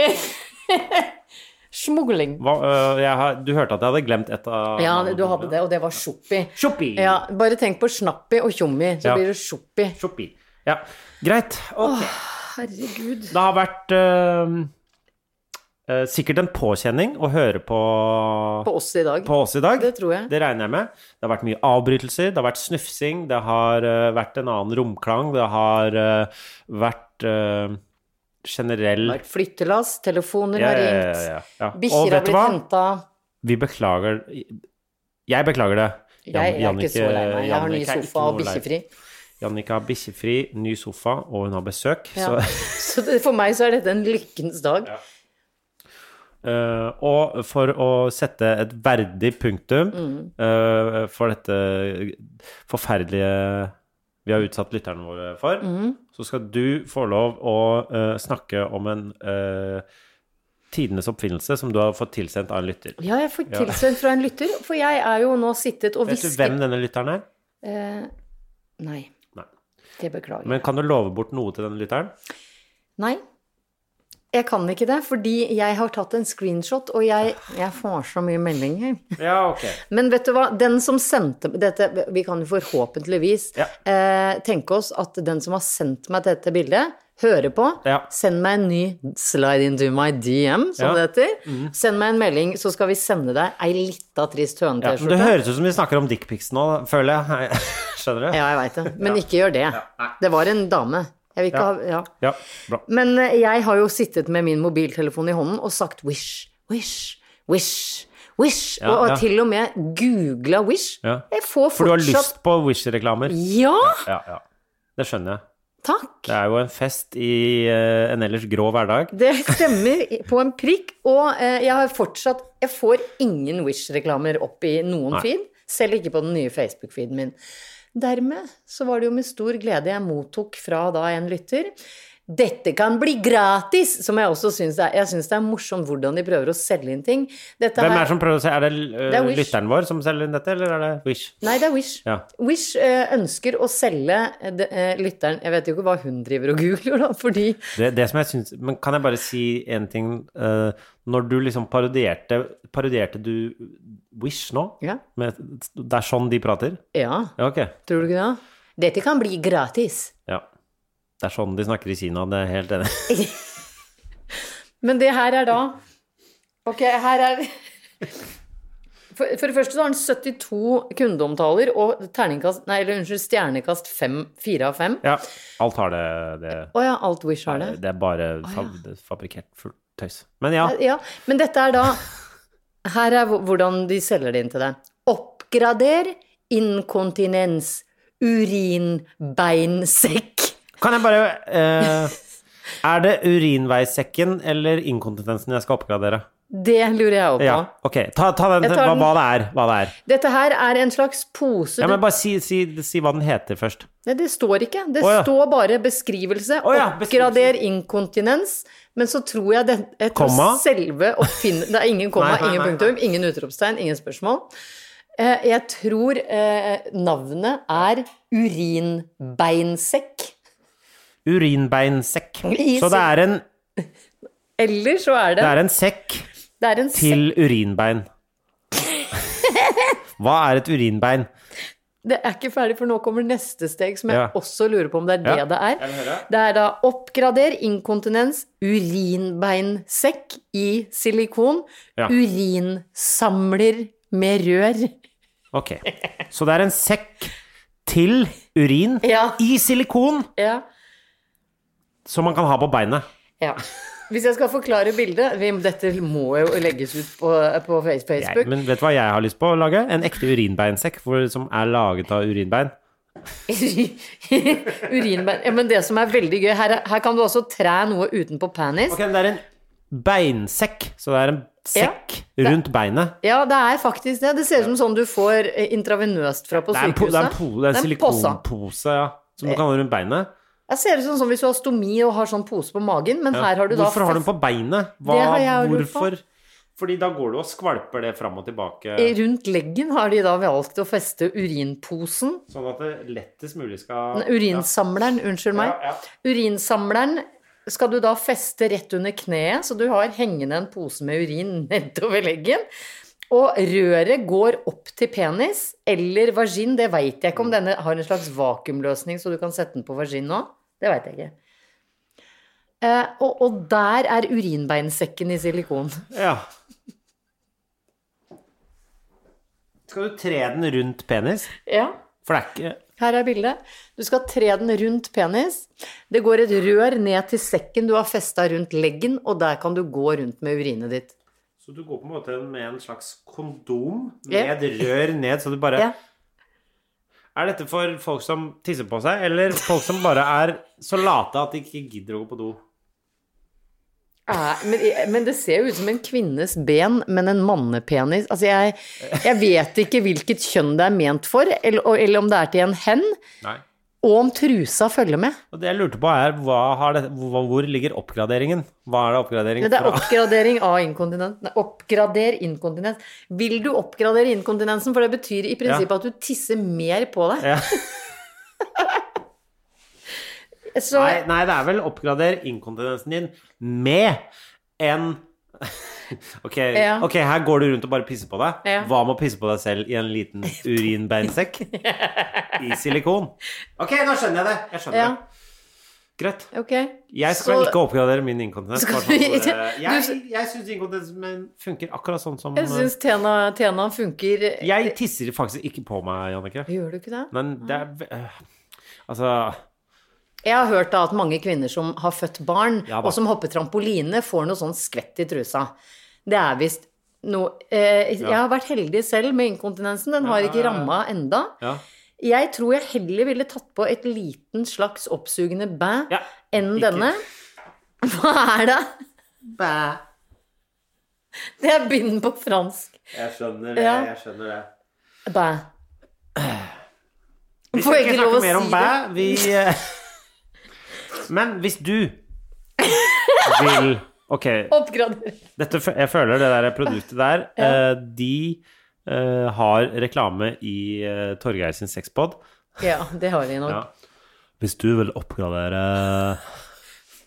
S1: Smugling.
S2: Hva, øh, jeg har, du hørte at jeg hadde glemt et av
S1: Ja, du hadde det, og det var sjoppi.
S2: Sjoppi.
S1: Ja, bare tenk på snappi og tjommi, så
S2: Ja.
S1: blir det sjoppi.
S2: Sjoppi. Ja. Greit. Ok.
S1: Herregud.
S2: Det har vært øhm, øh, sikkert en påkjenning å høre på
S1: På oss i dag.
S2: på oss i dag.
S1: Det tror jeg.
S2: Det regner jeg med. Det har vært mye avbrytelser, det har vært snufsing, det har eh, vært en annen romklang, det har eh, vært eh, generell
S1: Flyttelass, telefoner
S2: Ja,
S1: har
S2: ja, ja,
S1: ringt.
S2: ja, ja. Og
S1: Bikkjer har
S2: vet du
S1: blitt
S2: hva?
S1: henta.
S2: Vi beklager Jeg beklager det.
S1: Jeg er ikke så lei meg. Jeg har ny
S2: Jannicke er ikke
S1: sofa og
S2: noe lei-
S1: bikkjefri.
S2: Jannicke har bikkjefri, ny sofa, og hun har besøk.
S1: Ja.
S2: Så,
S1: Så det, for meg så er dette en lykkens dag.
S2: Eh, og for å sette et verdig punktum
S1: Mm.
S2: eh, for dette forferdelige vi har utsatt lytterne våre for,
S1: Mm.
S2: så skal du få lov å eh, snakke om en eh, tidenes oppfinnelse som du har fått tilsendt av en lytter.
S1: Ja, jeg får tilsendt fra en lytter, for jeg er jo nå sittet og
S2: Vet du
S1: hvisket
S2: hvem denne lytteren er?
S1: eh, Nei.
S2: Nei.
S1: Det beklager jeg.
S2: Men kan du love bort noe til denne lytteren?
S1: Nei. Jeg kan ikke det, fordi jeg har tatt en screenshot, og jeg, jeg får så mye meldinger.
S2: Ja, ok.
S1: Men vet du hva, den som sendte dette Vi kan jo forhåpentligvis
S2: Ja.
S1: eh, tenke oss at den som har sendt meg dette bildet, hører på.
S2: Ja.
S1: Send meg en ny 'slide into my DM', som
S2: Ja. Mm.
S1: det heter. Send meg en melding, så skal vi sende deg ei lita trist
S2: Ja, men det
S1: høne-T-skjorte.
S2: høres ut som vi snakker om dickpics nå, føler jeg. Skjønner du?
S1: Ja, jeg veit det. Men ikke gjør det. Det var en dame. Jeg vil ikke
S2: Ja.
S1: ha Ja.
S2: Ja, bra.
S1: Men eh, jeg har jo sittet med min mobiltelefon i hånden og sagt wish, wish, wish, wish.
S2: Ja,
S1: og
S2: ja.
S1: til og med googla wish.
S2: Ja.
S1: Jeg får
S2: For du har
S1: fortsatt
S2: lyst på Wish-reklamer.
S1: Ja!
S2: Ja, ja. Det skjønner jeg.
S1: Takk!
S2: Det er jo en fest i eh, en ellers grå hverdag.
S1: Det stemmer på en prikk. Og eh, jeg har fortsatt Jeg får ingen Wish-reklamer opp i noen
S2: Nei.
S1: feed, selv ikke på den nye Facebook-feeden min. Dermed så var det jo med stor glede jeg mottok fra da en lytter dette kan bli gratis! Som jeg også syns er, jeg synes det er morsomt hvordan de prøver å selge inn ting. Dette
S2: Hvem er
S1: her-
S2: det som prøver å se? Er det, eh,
S1: Det er Wish.
S2: lytteren vår som selger inn dette, eller er det Wish?
S1: Nei, det er Wish.
S2: Ja.
S1: Wish eh, ønsker å selge eh, de- eh, lytteren Jeg vet jo ikke hva hun driver og googler, da, fordi
S2: Det, det som jeg synes, men kan jeg bare si en ting? eh, når du liksom parodierte, parodierte du Wish nå?
S1: Ja.
S2: Med, det er sånn de prater?
S1: Ja,
S2: Ja, ok.
S1: tror du ikke det? Dette kan bli gratis.
S2: Ja. Det er sånn de snakker i Kina, det er jeg helt enig. i.
S1: Men det her er da Ok, her er For, for det første så har den 72 kundeomtaler og terningkast Nei, eller unnskyld, stjernekast 5, 4 av 5.
S2: Ja, alt har det, det.
S1: Å ja, alt Wish har det.
S2: Det er bare fab fabrikkert fullt tøys. Men ja,
S1: Ja, men dette er da Her er hvor- hvordan de selger det inn til deg. Oppgrader inkontinens urinbeinsekk.
S2: kan jeg bare eh, Er det urinveisekken eller inkontinensen jeg skal oppgradere?
S1: Det lurer jeg òg på.
S2: Ja, ok. Ta, ta den,
S1: Jeg tar
S2: hva,
S1: den.
S2: hva det er. Hva det er.
S1: Dette her er en slags pose
S2: Ja, men bare si, si, si hva den heter først.
S1: Nei, det står ikke. Det
S2: Å, ja.
S1: står bare beskrivelse.
S2: Å, ja,
S1: Oppgrader inkontinens. Men så tror jeg det jeg tror
S2: Komma?
S1: selve oppfinn... Det er ingen komma,
S2: Nei, nei,
S1: ingen
S2: nei,
S1: punktum, ingen utropstegn, ingen spørsmål. Eh, Jeg tror eh, navnet er urinbeinsekk.
S2: Urinbeinsekk.
S1: I
S2: Så det er en,
S1: Eller så er det
S2: det er en sekk
S1: Det er en sekk
S2: til urinbein. Hva er et urinbein?
S1: Det er ikke ferdig, for nå kommer neste steg, som jeg
S2: Ja.
S1: også lurer på om det er det
S2: Ja.
S1: det er. Det er da oppgrader inkontinens, urinbeinsekk i silikon,
S2: Ja.
S1: urinsamler med rør.
S2: Ok. Så det er en sekk til urin
S1: Ja.
S2: i silikon
S1: Ja.
S2: som man kan ha på beinet.
S1: ja. Hvis jeg skal forklare bildet vi, Dette må jo legges ut på, på Face-
S2: Jeg-
S1: Facebook.
S2: Men vet du hva jeg har lyst på å lage? En ekte urinbeinsekk hvor, som er laget av urinbein.
S1: Urinbein ja, Men det som er veldig gøy, her, er- her kan du også træ noe utenpå panis.
S2: Ok, men det er en beinsekk, så det er en sekk rundt beinet.
S1: Ja, det er faktisk det. Det ser ut som sånn du får eh, intravenøst fra på
S2: Det er en, po, det er en,
S1: sykehuset.
S2: po, det er en
S1: pose.
S2: silikonpose, ja, som du kan ha rundt beinet.
S1: Jeg ser ut som sånn hvis du har stomi og har sånn pose på magen, men her har du da
S2: Hvorfor har du den på beinet? Hva,
S1: Det har jeg jo lurt på.
S2: hvorfor? Fordi da går du og skvalper det fram og tilbake,
S1: fest- Rundt leggen har de da valgt å feste urinposen.
S2: sånn at det lettest mulig skal
S1: Nei, Urinsamleren, unnskyld meg.
S2: Ja, ja.
S1: Urinsamleren skal du da feste rett under kneet, så du har hengende en pose med urin nedover leggen. Og røret går opp til penis eller vagin, det veit jeg ikke om denne har en slags vakuumløsning, så du kan sette den på vagin nå. Det veit jeg ikke. Eh, og, og der er urinbeinsekken i silikon.
S2: Ja. Skal du tre den rundt penis?
S1: Ja,
S2: For det er ikke
S1: her er bildet. Du skal tre den rundt penis. Det går et rør ned til sekken du har festa rundt leggen, og der kan du gå rundt med urinet ditt.
S2: Så du går på en måte med en slags kondom
S1: Ja.
S2: med et rør ned, så du bare
S1: Ja.
S2: Er dette for folk som tisser på seg, eller folk som bare er så late at de ikke gidder å gå på do?
S1: Er, men, men det ser jo ut som en kvinnes ben, men en mannepenis. Altså, jeg, jeg vet ikke hvilket kjønn det er ment for, eller, og- eller om det er til en hen,
S2: Nei.
S1: og om trusa følger med.
S2: Og det jeg lurte på, er hva har det, hvor, hvor ligger oppgraderingen? Hva er det oppgradering
S1: Men det er
S2: fra?
S1: oppgradering av inkontinens. Nei, oppgrader inkontinens. Vil du oppgradere inkontinensen? For det betyr i prinsippet at du tisser mer på deg.
S2: Ja.
S1: Så,
S2: Nei, nei, det er vel oppgrader inkontinensen din med en Ok,
S1: Ja.
S2: ok, her går du rundt og bare pisser på deg.
S1: Ja.
S2: Hva med å pisse på deg selv i en liten urinbeinsekk? I silikon. Ok, nå skjønner jeg det. Jeg skjønner
S1: Ja.
S2: det. Greit.
S1: ok.
S2: Jeg skal
S1: Så-
S2: ikke oppgradere min inkontinens.
S1: Skal
S2: bare sånn
S1: du-
S2: for, eh, Jeg, jeg syns inkontinensen min funker akkurat sånn som eh,
S1: Jeg syns Tena, Tena funker
S2: Jeg tisser faktisk ikke på meg, Jannicke.
S1: Gjør du ikke det?
S2: Men det er ve- eh, Altså
S1: Jeg har hørt da at mange kvinner som har født barn,
S2: Ja da.
S1: og som hopper trampoline, får noe sånn skvett i trusa. Det er visst noe eh, Jeg har vært heldig selv med inkontinensen. Den har ikke ramma enda.
S2: ja.
S1: Jeg tror jeg heller ville tatt på et liten slags oppsugende bæ
S2: Ja,
S1: enn
S2: ikke.
S1: denne. Hva er det? Bæ. Det er begynnen på fransk.
S2: Jeg skjønner
S1: det, Ja. jeg
S2: skjønner det.
S1: Bæ. Får
S2: Vi skal
S1: jeg
S2: ikke
S1: ikke lov å
S2: snakke mer om
S1: si
S2: bæ. Vi eh, Men hvis du vil Ok,
S1: Oppgrader.
S2: dette, fø- jeg føler det der produktet der eh, De eh, har reklame i uh, Torgeir sin sexpod.
S1: Ja, det har vi nok.
S2: Ja. Hvis du vil oppgradere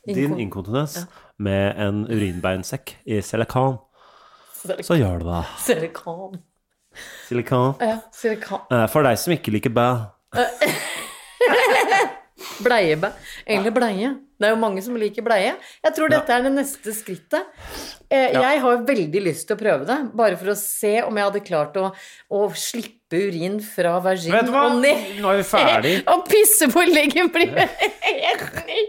S2: din inkontinens med en urinbeinsekk i silikon,
S1: Silikon.
S2: så gjør du det.
S1: Silikon.
S2: Silikon.
S1: Ja, silikon.
S2: Eh, For deg som ikke liker bæ.
S1: Bleiebæ. Egentlig bleie. Det er jo mange som liker bleie. Jeg tror dette er det neste skrittet. Eh, Jeg har veldig lyst til å prøve det, bare for å se om jeg hadde klart å, å slippe urin fra vagin
S2: Vet du hva?
S1: og ned.
S2: Nå er vi ferdig.
S1: Og pisse på leggen blir helt ny.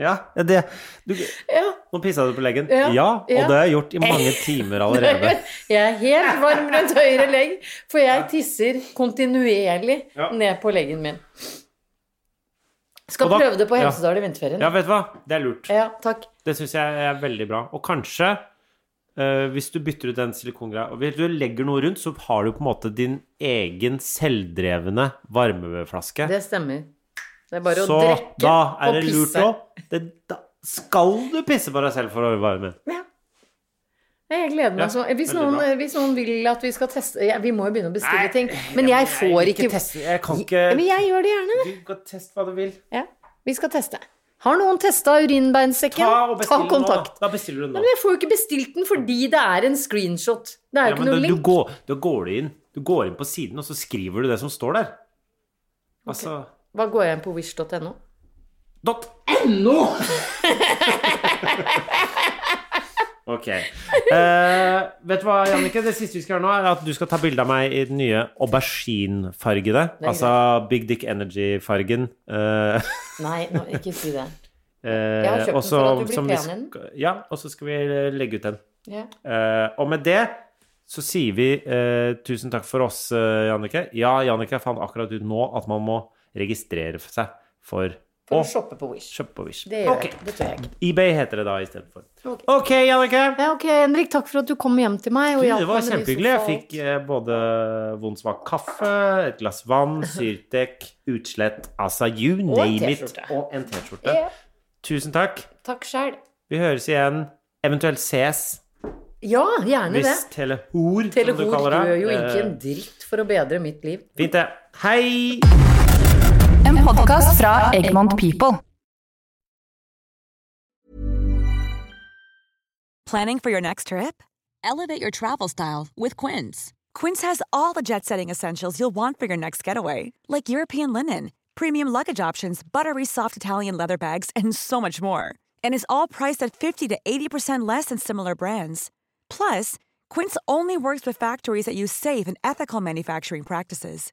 S2: Ja, det, du,
S1: Ja.
S2: Nå pissa du på leggen. Ja,
S1: Ja,
S2: og
S1: ja.
S2: det har jeg gjort i mange timer allerede.
S1: Jeg er helt varm rundt høyre legg, for jeg tisser kontinuerlig
S2: Ja.
S1: ned på leggen min. Skal
S2: Og da-
S1: prøve det på
S2: Ja.
S1: Hemsedal i vinterferien.
S2: Ja, vet du hva? Det er lurt.
S1: Ja, takk.
S2: Det syns jeg er veldig bra. Og kanskje, eh, hvis du bytter ut den silikongreia og Hvis du legger noe rundt, så har du på en måte din egen selvdrevne varmeflaske.
S1: Det stemmer. Det er bare
S2: så
S1: å drikke
S2: da
S1: og
S2: er det lurt
S1: pisse.
S2: å det, Da skal du pisse på deg selv for å varme.
S1: Ja. Nei, Jeg gleder meg
S2: Ja,
S1: sånn. Hvis,
S2: veldig
S1: noen-
S2: bra.
S1: hvis noen vil at vi skal teste ja, Vi må jo begynne å bestille
S2: Nei,
S1: ting. Men jeg får
S2: vil
S1: ikke,
S2: teste- Jeg kan
S1: Men
S2: ikke
S1: jeg gjør det gjerne.
S2: Du kan teste hva du vil.
S1: Ja, vi skal teste. Har noen testa
S2: Ta
S1: urinbeinsekken? Ta,
S2: og bestill den nå.
S1: kontakt.
S2: Da bestiller du den
S1: Nei,
S2: nå.
S1: Men jeg får jo ikke bestilt den fordi det er en screenshot. Det er jo
S2: Ja,
S1: ikke
S2: men
S1: noe
S2: da, du
S1: link.
S2: går, da går du inn Du går inn på siden, og så skriver du det som står der. Altså
S1: Hva går jeg inn på wish.no?
S2: dot .no! ok. Eh, vet du hva, Jannicke? Det siste vi skal gjøre nå, er at du skal ta bilde av meg i den nye auberginefargede.
S1: er
S2: Altså Big Dick Energy-fargen. Eh,
S1: Nei, nå, ikke si det.
S2: eh,
S1: Jeg har kjøpt den
S2: og så-
S1: for at du blir
S2: som vi
S1: pen i
S2: sk- Ja, og så skal vi legge ut den.
S1: Ja.
S2: Eh, og med det så sier vi eh, tusen takk for oss, eh, Jannicke. Ja, Jannicke fant akkurat ut nå at man må registrere for seg for,
S1: For å
S2: å
S1: shoppe på Wish.
S2: kjøpe på Wish.
S1: Det gjør
S2: Ok.
S1: jeg ikke. Det tør jeg ikke.
S2: eBay heter det da istedenfor.
S1: Ok.
S2: OK, Jannicke.
S1: Ja, ok, Henrik, takk for at du kom hjem til meg. Og
S2: Du,
S1: hjalp
S2: Det var
S1: meg med de
S2: kjempehyggelig. Jeg
S1: sosiale-
S2: fikk eh, både vond svak kaffe, et glass vann, Syrtec, utslett, altså you
S1: Og en
S2: name it.
S1: T-skjorte.
S2: Og en T-skjorte.
S1: Ja,
S2: Tusen takk.
S1: Takk sjæl.
S2: Vi høres igjen. Eventuelt ses,
S1: Ja, gjerne det.
S2: hvis Telehor, som du
S1: Telehor
S2: kaller
S1: gjør
S2: det.
S1: jo ikke
S2: eh,
S1: en dritt for å bedre mitt liv.
S2: Fint, det. Hei!
S6: En podkast fra Egmont People.
S7: Planning for your next trip?
S8: Elevate your travel style with Quince.
S7: Quince has all the jet setting essentials you'll want for your next getaway, like European linen, premium luggage options, buttery soft Italian leather bags, and so much more. And is all priced at 50 to 80% less than similar brands. Plus, Quince only works with factories that use safe and ethical manufacturing practices.